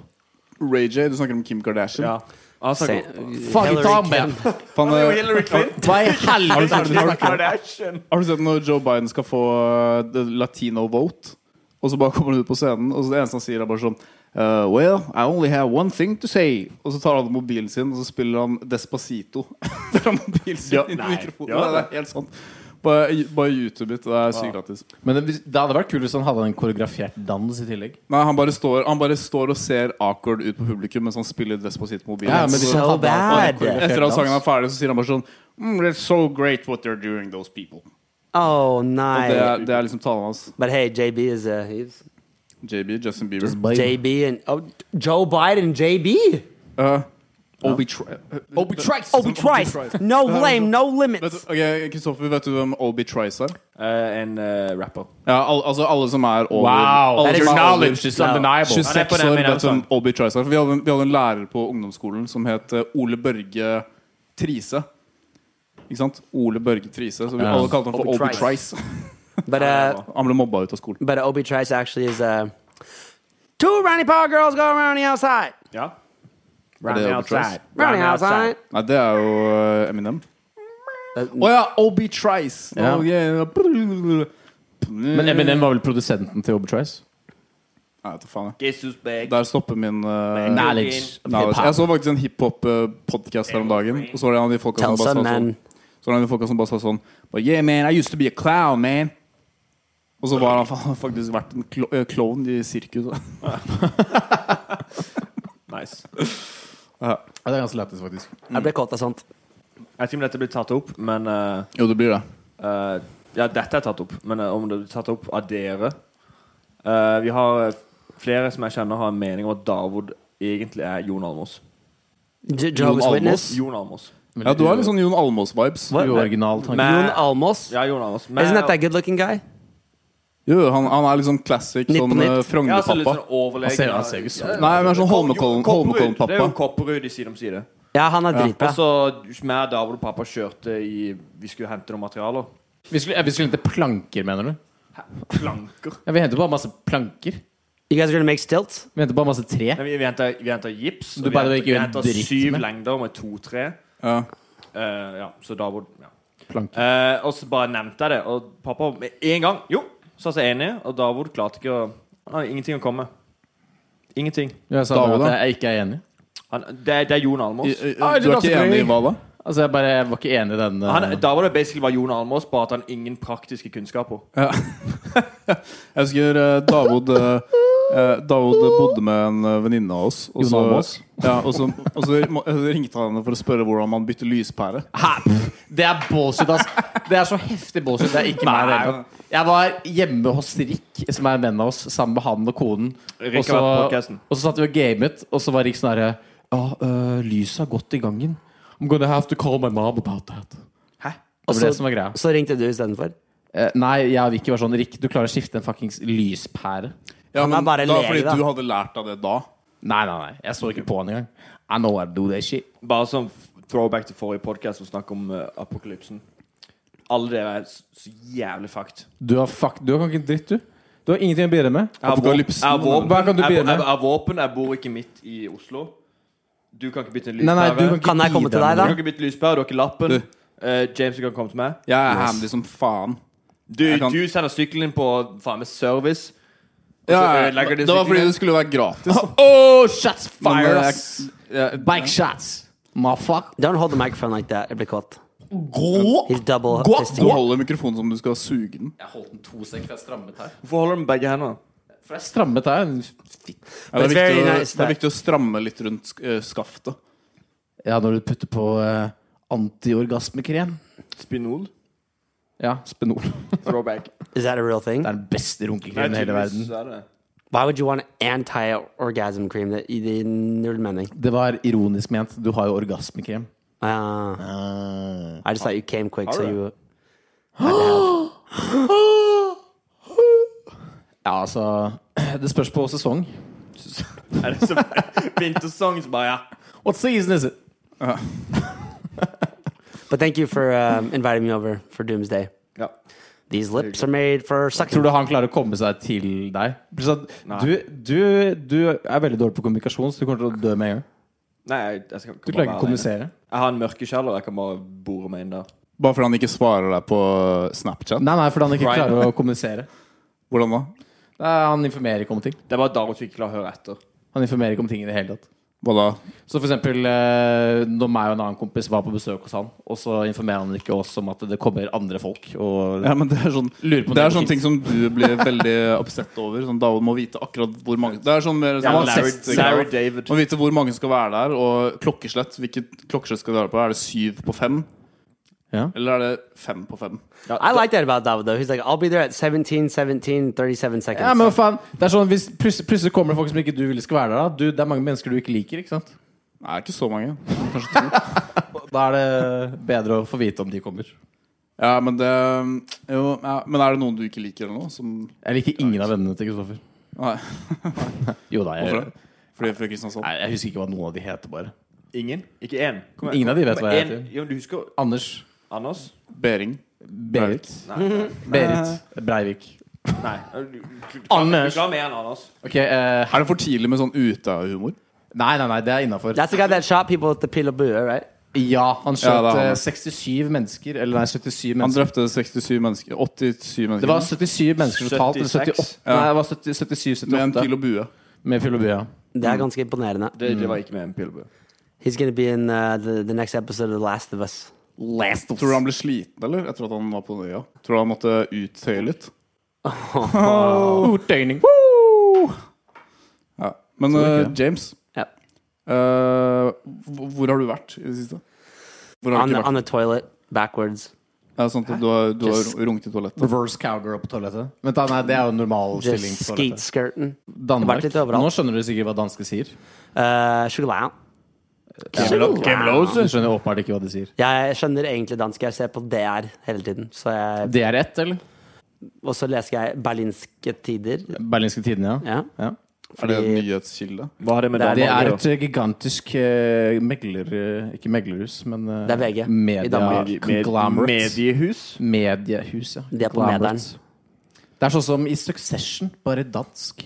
Ray J, du snakker om Kim Kardashian.
Ja. Altså,
Say-
Fucking
Hillary
ta
Clinton.
med!
Faen,
Det er jo
eh,
Hillary Clinton!
Hva i helvete er det du
Kim
snakker om?
Kardashian.
Har du sett når Joe Biden skal få uh, the latino vote? Og så bare kommer han ut på scenen, og så det eneste han sier, er bare sånn uh, Well, I only have one thing to say. Og så tar han mobilen sin, og så spiller han Despacito fra mobilen sin
Ja,
inn i
nei.
mikrofonen.
Ja,
det er helt sant. Bare, bare YouTube it. Det er sykt gratis.
Men det, det hadde vært kult hvis han hadde en koreografert dans i tillegg.
Nei, han bare, står, han bare står og ser awkward ut på publikum mens han spiller Despacito på mobilen.
Ja, men hvis han
so
hadde en
bad.
koreografert
Etter at
dans-
sangen er ferdig, så sier han bare sånn mm, It's so great what they're doing, those people.
Oh,
Og det er,
nice.
det er liksom talen hans.
But hey, JB is a he's
JB, Justin Bieber.
JB and oh, Joe Biden, JB.
Uh, Obi-Tri...
Obi-Trice!
Obi Trice. No lame, no
Vet du,
limits.
ok, Kristoffer, vet du hvem Obi-Trice er?
Eh, en eh, rapper.
Ja, al altså alle som er over
Wow!
alle
That
som
is
er over
knowledge.
is
undeniable.
26 år, vet du hvem Obi-Trice er? For vi hadde, en- vi hadde en lærer på ungdomsskolen som het eh, Ole Børge Trise. Ikke sant? Ole Børge Trise. Så vi
Ja.
alle kalte han for
Obi-Trice.
Obi-Trice.
But uh,
Han ble mobba ut av skolen.
but Obi Trice actually is uh, two roundy paw girls go around the outside.
Ja.
Er
Round
det
outside.
Obi-Trice?
Round the outside.
Nei, det er jo eh, Eminem.
Uh,
Å ja, Obi-Trice!
Ja.
Nå, yeah.
Men Eminem var vel produsenten til Obertrice?
Nei, vet du faen. jeg.
Jesus bag.
Der stopper min eh,
Knowledge. altså, of
knowledge.
hip-hop.
Jeg så faktisk en hiphop-podkast her om dagen. Og så var det en av de folka som
Tell
bare
some
sa sånn
man.
Så var det en av de folka som bare sa sånn But yeah, man, I used to be a clown, man. Og så var han fa- faktisk vært en klo eh, klovn i sirkus.
Nice.
Ja, det er ganske lættis, faktisk.
Jeg ble kåt av sånt.
Jeg vet ikke om dette blir tatt opp, men eh,
Jo, det blir det.
eh, Ja, dette er tatt opp, men eh, om det blir tatt opp av dere Eh, Vi har eh, flere som jeg kjenner har en mening om at Davod egentlig er Jon Almos.
Je- Jehovah's
Jon
Witness.
Jon Almos.
Ja, du har litt sånn Jon Almaas-vibes.
Uoriginal tanke.
Jon Almos.
Ja, Jon Almos. Men-
Ah. Isn't that that good looking guy?
Jo, han, han er liksom classic
Nytt på nytt.
sånn eh,
Ja, altså litt
Frogner-pappa.
sånn overlegen.
Han ser- han ser ikke sånn.
Ja, ja.
Nei, men er sånn Holmenkollen-
Kopperud. Det er jo
Holmenkollen-pappa.
Kopperud i side om side.
Ja, han er dritbra.
Og så meg, David og pappa kjørte i Vi skulle hente noen materialer.
Vi skulle, ja, vi skulle hente planker, mener du?
Planker.
Ja, vi henter bare masse planker.
You guys are gonna make stilts?
Vi henter bare masse tre.
Nei, vi, vi henta, vi henta gips. og
Du
vi
bare
henta-
ikke gjør
vi henta
en dritt
syv
med.
lengder med to-tre.
Ja.
ja, så David ja.
Planker.
Eh, Og så bare nevnte jeg det, og pappa med en gang Jo, sa seg enig, og David klarte ikke å Han hadde ingenting å komme med. Ingenting.
Jeg sa bare
David,
at jeg ikke er enig.
Han, det, det er Jon Almås.
I- i- Du
Ah,
er
det er
ikke
ganske
enig i
gøy.
hva da?
Altså, jeg bare jeg var ikke enig i den uh,
Han, da var det basically bare Jon Almås, bare at han ingen praktiske kunnskaper.
Ja. Jeg husker eh, Davod eh, eh, Davod bodde med en eh, venninne av oss. Og
Jon
så,
Almaas.
ja, og, så, og så må- ringte han henne for å spørre hvordan man bytter lyspære.
Hæ? Det er bullshit, ass. Det er så heftig bullshit. Det er ikke meg. i det hele tatt. Jeg var hjemme hos Rick, som er en venn av oss, sammen med han og konen.
Rick
Og så,
har vært på podcasten.
og så satt vi og gamet, og så var Rick sånn herre Ja, øh, lyset har gått i gangen. I'm gonna have to call my mom about that.
Hæ?
Det var det
så-
som var greia.
Så ringte du istedenfor?
Eh, nei, jeg og Vicky var sånn Rick, du klarer å skifte en fuckings lyspære.
Ja,
Han er bare
da,
lege,
fordi
da.
du hadde lært av det da.
Nei, nei, nei. Jeg så ikke på han engang. I know I do that shit.
Bare som throwback til forrige podkast som snakket om eh, apokalypsen. Alle dere er så, så jævlig fucked.
Du har fuck Du har ikke en dritt, du. Du har ingenting å bidra med.
Jeg har våpen,
Apokalypsen.
jeg har våpen,
Hva kan du
jeg,
begynne med?
jeg, jeg, har våpen, jeg bor ikke midt i Oslo. Du kan ikke bytte en
Nei, nei,
lyspære.
du kan ikke
Kan jeg komme til
bidra
deg,
med
da?
Du kan ikke bytte lyspære, du har ikke lappen.
Du.
Eh, James, du kan komme til meg.
Jeg er handy som faen.
Du,
kan-
du sender sykkelen din på faen meg service.
Ja, ja.
ødelegger de
det var fordi
sykkelen.
det skulle være gratis. da.
Oh, shots
Men,
fired!
eh,
ass.
jeg-
Bike shots. Motherfuck.
Don't hold the microphone like that. Jeg ble kåt.
Gå!
He's double
Gå-
Du
fisting.
holder mikrofonen som du skal suge den.
Jeg holdt den to sek, for jeg strammet her.
Hvorfor holder du med begge hendene?
For jeg strammet her.
Ja, det,
It's
er
very
viktig å,
nice,
det er
det.
viktig å stramme litt rundt sk- eh, skaftet.
Ja, når du putter på eh, antiorgasmekrem.
Spinol?
Ja, Spenol. Det
Throwback.
Is that a real thing?
er den beste runkekremen
Nei,
i hele verden.
tydeligvis er det.
Why would you want anti-orgasm cream? Det det gir null mening.
Det var ironisk ment. Du har jo orgasmekrem.
Uh,
Ah.
I just thought you came quick, so
du det?
you
Ja, altså Det spørs på sesong.
Er det så vintersang som bare ja.
What season is it?
But thank you for um, inviting me over for Doomsday.
ja.
These lips are made for
Tror
sucking.
du han klarer å komme seg til deg? Pluss at Du, du, du er veldig dårlig på kommunikasjon, så du kommer til å dø med en gang.
Nei, jeg, jeg skal
Du klarer ikke å
være alene.
kommunisere.
Jeg har en mørkekjeller. Jeg kan bare bore meg inn der.
Bare fordi han ikke svarer deg på eh, Snapchat.
Nei, nei, fordi han ikke
Brian.
klarer å kommunisere.
Hvordan da?
Nei, han informerer ikke om ting.
Det er bare David som ikke klarer å høre etter.
Han informerer ikke om ting i det hele tatt.
Hva da?
Så for eksempel eh, når meg og en annen kompis var på besøk hos han, og så informerer han ikke oss om at det kommer andre folk. Og
Ja, men det er sånn
lurer på om
Det er
går
sånne ting som
fint.
du blir veldig upset over. Sånn, David må vite akkurat hvor mange Det er sånn mer sånn,
Larry, Larry,
sett-
David.
Må vite hvor mange skal være der, og klokkeslett. Hvilket klokkeslett skal du være på? Er det syv på fem?
Ja.
Eller er det fem på fem?
I like that about David though. He's like, I'll be there at 17, 17, 37 seconds.
Ja, men hva faen. Det er sånn, hvis plutselig, plutselig kommer det folk som ikke du ville skal være der, da. Du, det er mange mennesker du ikke liker, ikke sant?
Nei, ikke så mange.
Da er det bedre å få vite om de kommer.
Ja, men det Jo, ja, men er det noen du ikke liker eller noe? Som
Jeg liker ingen av vennene til Kristoffer.
Nei.
Jo da, jeg,
Hvorfor det? Fordi fra Kristiansand?
nei, jeg husker ikke hva noen av de heter, bare.
Ingen? Ikke én? Kom igjen.
Ingen av de vet
Men
hva jeg
en-
heter.
Jo, men du husker
Anders.
Anders?
Bering.
Berit. Berit. Breivik.
Nei. Du, du, du,
Anders.
Du klarer mer enn Anders.
Ok, eh,
Er det for tidlig med sånn ute-humor?
Nei, nei, nei, det er innafor.
That's the guy that shot people at the Pilabua, right?
Ja, han skjøt
Ja, det er han.
eh, 67 mennesker. Eller nei, 77
Han
mennesker.
drepte 67 mennesker 87 mennesker.
Det var 77 mennesker totalt. Eller 78.
76.
Nei, det var 70, 77
med en
78
pil og bue.
med fyll og bue.
Det er ganske imponerende.
Det, det var ikke med en pilbue.
He's gonna be in uh, the, the next episode of The Last of Us.
Tror du han ble sliten, eller? Etter at han var på øya? Tror du han måtte uttøye litt?
Ordtegning.
Ja. Men
Tror du ikke
eh,
det?
James,
Ja.
eh, hvor hvor har du vært i det siste? Hvor har
On,
du
the,
ikke
on
vært?
the toilet, backwards.
Det er sånn at du har, du har
Just-
runket i toalettet.
Reverse cowgirl på toalettet. Vent da, nei, Det er jo en normal stilling.
Just
på
skeet
toalettet.
skirting.
Danmark.
Det har vært litt overalt.
Nå skjønner du sikkert hva danske sier.
Uh, Chocolate.
Du skjønner åpenbart ikke hva de sier.
Jeg skjønner egentlig dansk. Jeg ser på DR hele tiden. Så jeg,
Det er ett, eller?
og så leser jeg Berlinske Tider.
Berlinske tidene, ja.
Ja.
ja.
Er det en
Fordi-
nyhetskilde?
Hva har det med
Det er-
Det er
Danmark å
et eh, gigantisk eh, megler... eh, Ikke meglerhus, men eh,
Det er VG i
Media,
Danmark.
gjøre? Med-
conglomerate.
Mediehus?
Mediehus, ja.
De er på
Conglomerate.
Mederen.
Det er sånn som i Succession, bare dansk.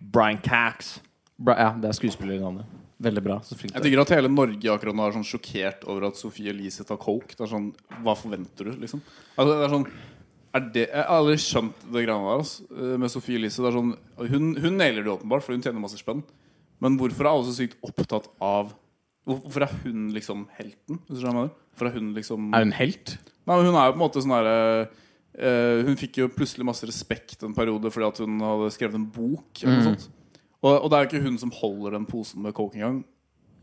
Brian Cax.
Bra, ja, det er skuespillernavnet. Veldig bra. Så flink
Jeg
du er.
tenker at hele Norge akkurat nå er sånn sjokkert over at Sofie Elise tar coke. Det er sånn, Hva forventer du, liksom? Altså, det er sånn er det, Jeg har aldri skjønt det greiene der altså, med Sofie Elise. Det er sånn, hun, hun nailer det åpenbart, for hun tjener masse spenn. Men hvorfor er alle så sykt opptatt av hvor- Hvorfor er hun liksom helten? Hvis du skjønner hva jeg mener? Hvorfor er hun liksom
Er hun helt?
Nei, men Hun er jo på en måte sånn herre eh, Hun fikk jo plutselig masse respekt en periode fordi at hun hadde skrevet en bok. Eller
Mm.
noe sånt. Og, og det er jo ikke hun som holder den posen med coke engang.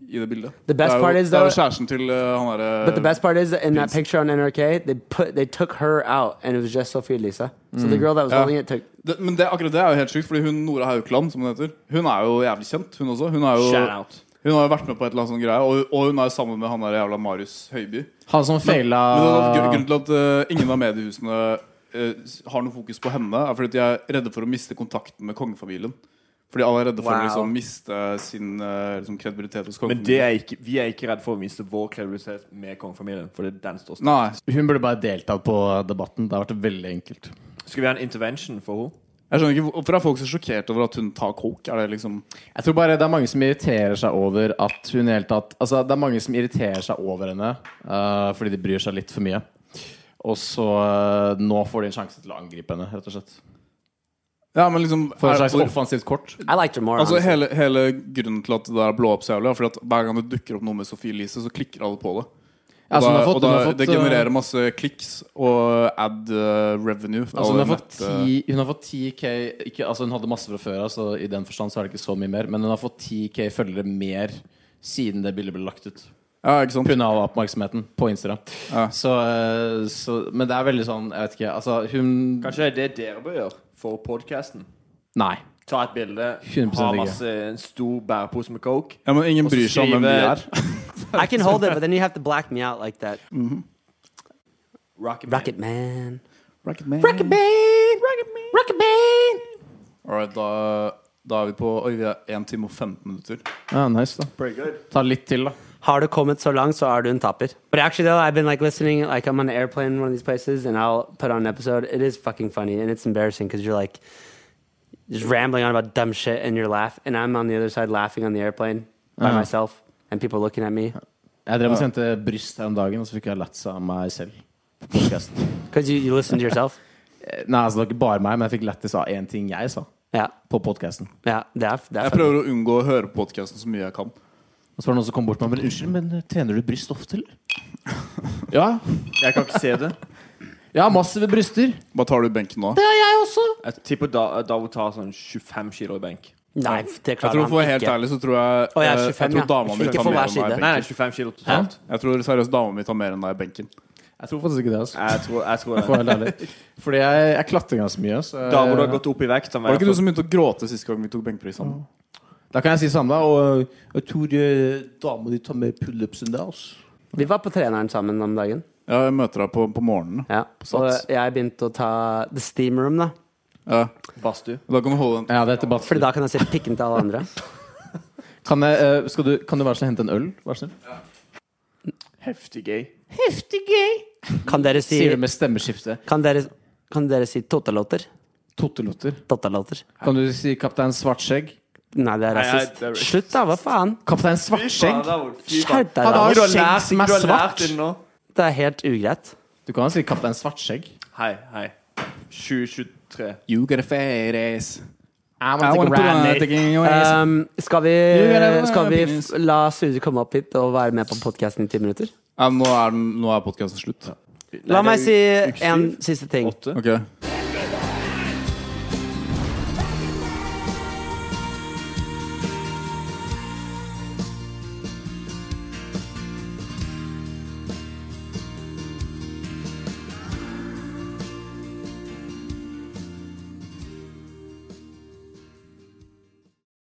I det bildet.
The best
det, er jo,
part is
det er jo
that-
kjæresten til eh, han derre
But the best part is that in that
Pins-
picture on NRK, they put they took her out, and it was just Sophie Lisa. So the girl that was
Yeah.
holding it took.
det, Men det, akkurat det er jo helt sjukt, Fordi hun Nora Haukeland, som hun heter, hun er jo jævlig kjent, hun også. Hun, er jo,
Shout out.
hun har jo vært med på et eller annet sånn greie, og, og hun er jo sammen med han der jævla Marius Høiby.
Han som feila
Men det
Ah.
er grunn- Grunnen til at eh, ingen av mediehusene eh, s- har noe fokus på henne, er fordi at de er redde for å miste kontakten med kongefamilien. Fordi alle er redde for å
Wow.
liksom, miste sin eh, liksom, kredibilitet hos
Men det
kongefamilien.
er ikke, vi er ikke redd for å miste vår kreativitet med kongefamilien. Fordi den står sterkt.
Nei.
Hun burde bare deltatt på debatten. Det har vært veldig enkelt.
Skal vi ha en intervention for henne?
Jeg skjønner ikke, hvor- Hvorfor er folk så sjokkert over at hun tar coke? Er det liksom
Jeg tror bare det er mange som irriterer seg over at hun i det hele tatt Altså, det er mange som irriterer seg over henne eh, fordi de bryr seg litt for mye. Og så eh, Nå får de en sjanse til å angripe henne, rett og slett.
Ja, men liksom
For
er-
et slags
hvor-
offensivt kort.
I liked her more.
Altså
honestly.
hele, hele grunnen til at det der blå opp så jævlig, er fordi at hver gang det dukker opp noe med Sophie Elise, så klikker alle på det. Og,
Ja, så hun
da,
har fått-
og da,
hun har fått,
det
eh,
genererer masse kliks og ad eh, revenue.
Altså, hun, har fått
Nett, eh,
10, hun har fått 10K ikke, altså, Hun hadde masse fra før, altså, i den forstand så er det ikke så mye mer. Men hun har fått 10K følgere mer siden det bildet ble lagt ut.
Ja, ikke sant?
Pga. oppmerksomheten på Instagram.
Ja.
Så, eh, så, men det er veldig sånn Jeg vet ikke. Altså, hun
Kanskje det er det dere bør gjøre for podkasten?
Nei.
Ta et bilde,
100%
ha
ikke.
masse, en stor bærepose med coke.
Ja, men ingen
Og så
bryr seg om hvem vi
skrive-
er.
I can hold it, but then you have to black me out like that.
Rocket Man.
Rocket Man.
Rocket Man. Alright, da, da er vi på Oi, vi er 1 time og 15 minutter.
Ja, nice, da.
Pretty good.
Ta litt til, da.
Har du kommet så langt, så er du en taper. But actually though, I've been like listening, like I'm on an airplane in one of these places, and I'll put on an episode. It is fucking funny, and it's embarrassing because you're like just rambling on about dumb shit, and you're laugh, and I'm on the other side laughing on the airplane by
Uh-huh.
myself, and people are looking at me
Jeg drev og sendte bryst her om dagen, og så fikk jeg latsa av meg selv. på podcasten.
because you, you listen to yourself.
Eh, Nei, altså, det var ikke bare meg, men jeg fikk lættis av én ting jeg sa
Yeah,
på podkasten.
yeah, that
Jeg
that.
prøver å unngå å høre podkasten så mye jeg kan.
Og så var det noen som kom bort til meg men unnskyld, men eh, trener du bryst ofte, eller? Ja.
Jeg kan ikke se det.
Jeg har massive bryster.
Bare tar du benken nå?
Det har jeg også.
Jeg tipper da, Davud tar sånn 25 kilo i benk.
Nei, det
Jeg
klarer
tror For å være
han
helt
ikke.
ærlig så tror jeg
Å, jeg er
eh,
25,
tror
ja.
dama mi
Ikke
tar
for hver
mer enn meg i
side.
Nei,
benken.
nei, 25 kilo totalt.
Jeg tror seriøst dama mi tar mer enn deg i benken.
Jeg tror faktisk ikke det. altså
Jeg tror, jeg
For
tror
å
det.
være helt ærlig. Fordi jeg, jeg klatrer ganske mye. Så jeg,
Eh, Davud har gått opp i vekt. Han
Var det ikke
veier
du som begynte å gråte siste gang vi tok benkpris sammen?
Da kan jeg si samme, og øh, jeg tror eh, dama di tar med pullupsen der. Altså.
Vi var på treneren sammen om dagen.
Ja, jeg møter deg på, på morgenen.
Ja. Og
Sats.
jeg begynte å ta the steam room, da.
Ja.
Badstue.
Da kan du holde den.
Ja, det er tilbake.
Fordi da kan jeg se pikken til alle andre.
Kan, jeg, eh, skal du, kan du være så snill hente en øl? Vær så snill.
Heftig gøy.
Kan dere si
Sier du med stemmeskifte.
Kan dere, kan dere si totaloter?
Tottelotter.
Totaloter.
Kan du si Kaptein Svartskjegg?
Nei, det er
Nei, nei,
rasist.
det er rasist.
Slutt, da! Hva faen?
Kaptein
Fy
Svartskjegg?
faen, det er
Skjerp deg,
Han har
da.
Du har
skjegg
lært,
som er
du har
svart.
lært det nå.
Det er helt ugreit.
Du kan jo si Kaptein Svartskjegg.
Hei, hei. 2023.
You get a fair ass.
I
I wanna
wanna
put
take a
on
ride.
a taking your ass.
Um, skal vi,
gotta-
skal vi f
opinions.
la Suzy komme opp hit og være med på podkasten i ti minutter?
Ja, nå er, den- nå er podkasten slutt.
La
Nei,
meg
det
si
er u- uke
en
syv,
siste ting.
åtte.
Ok.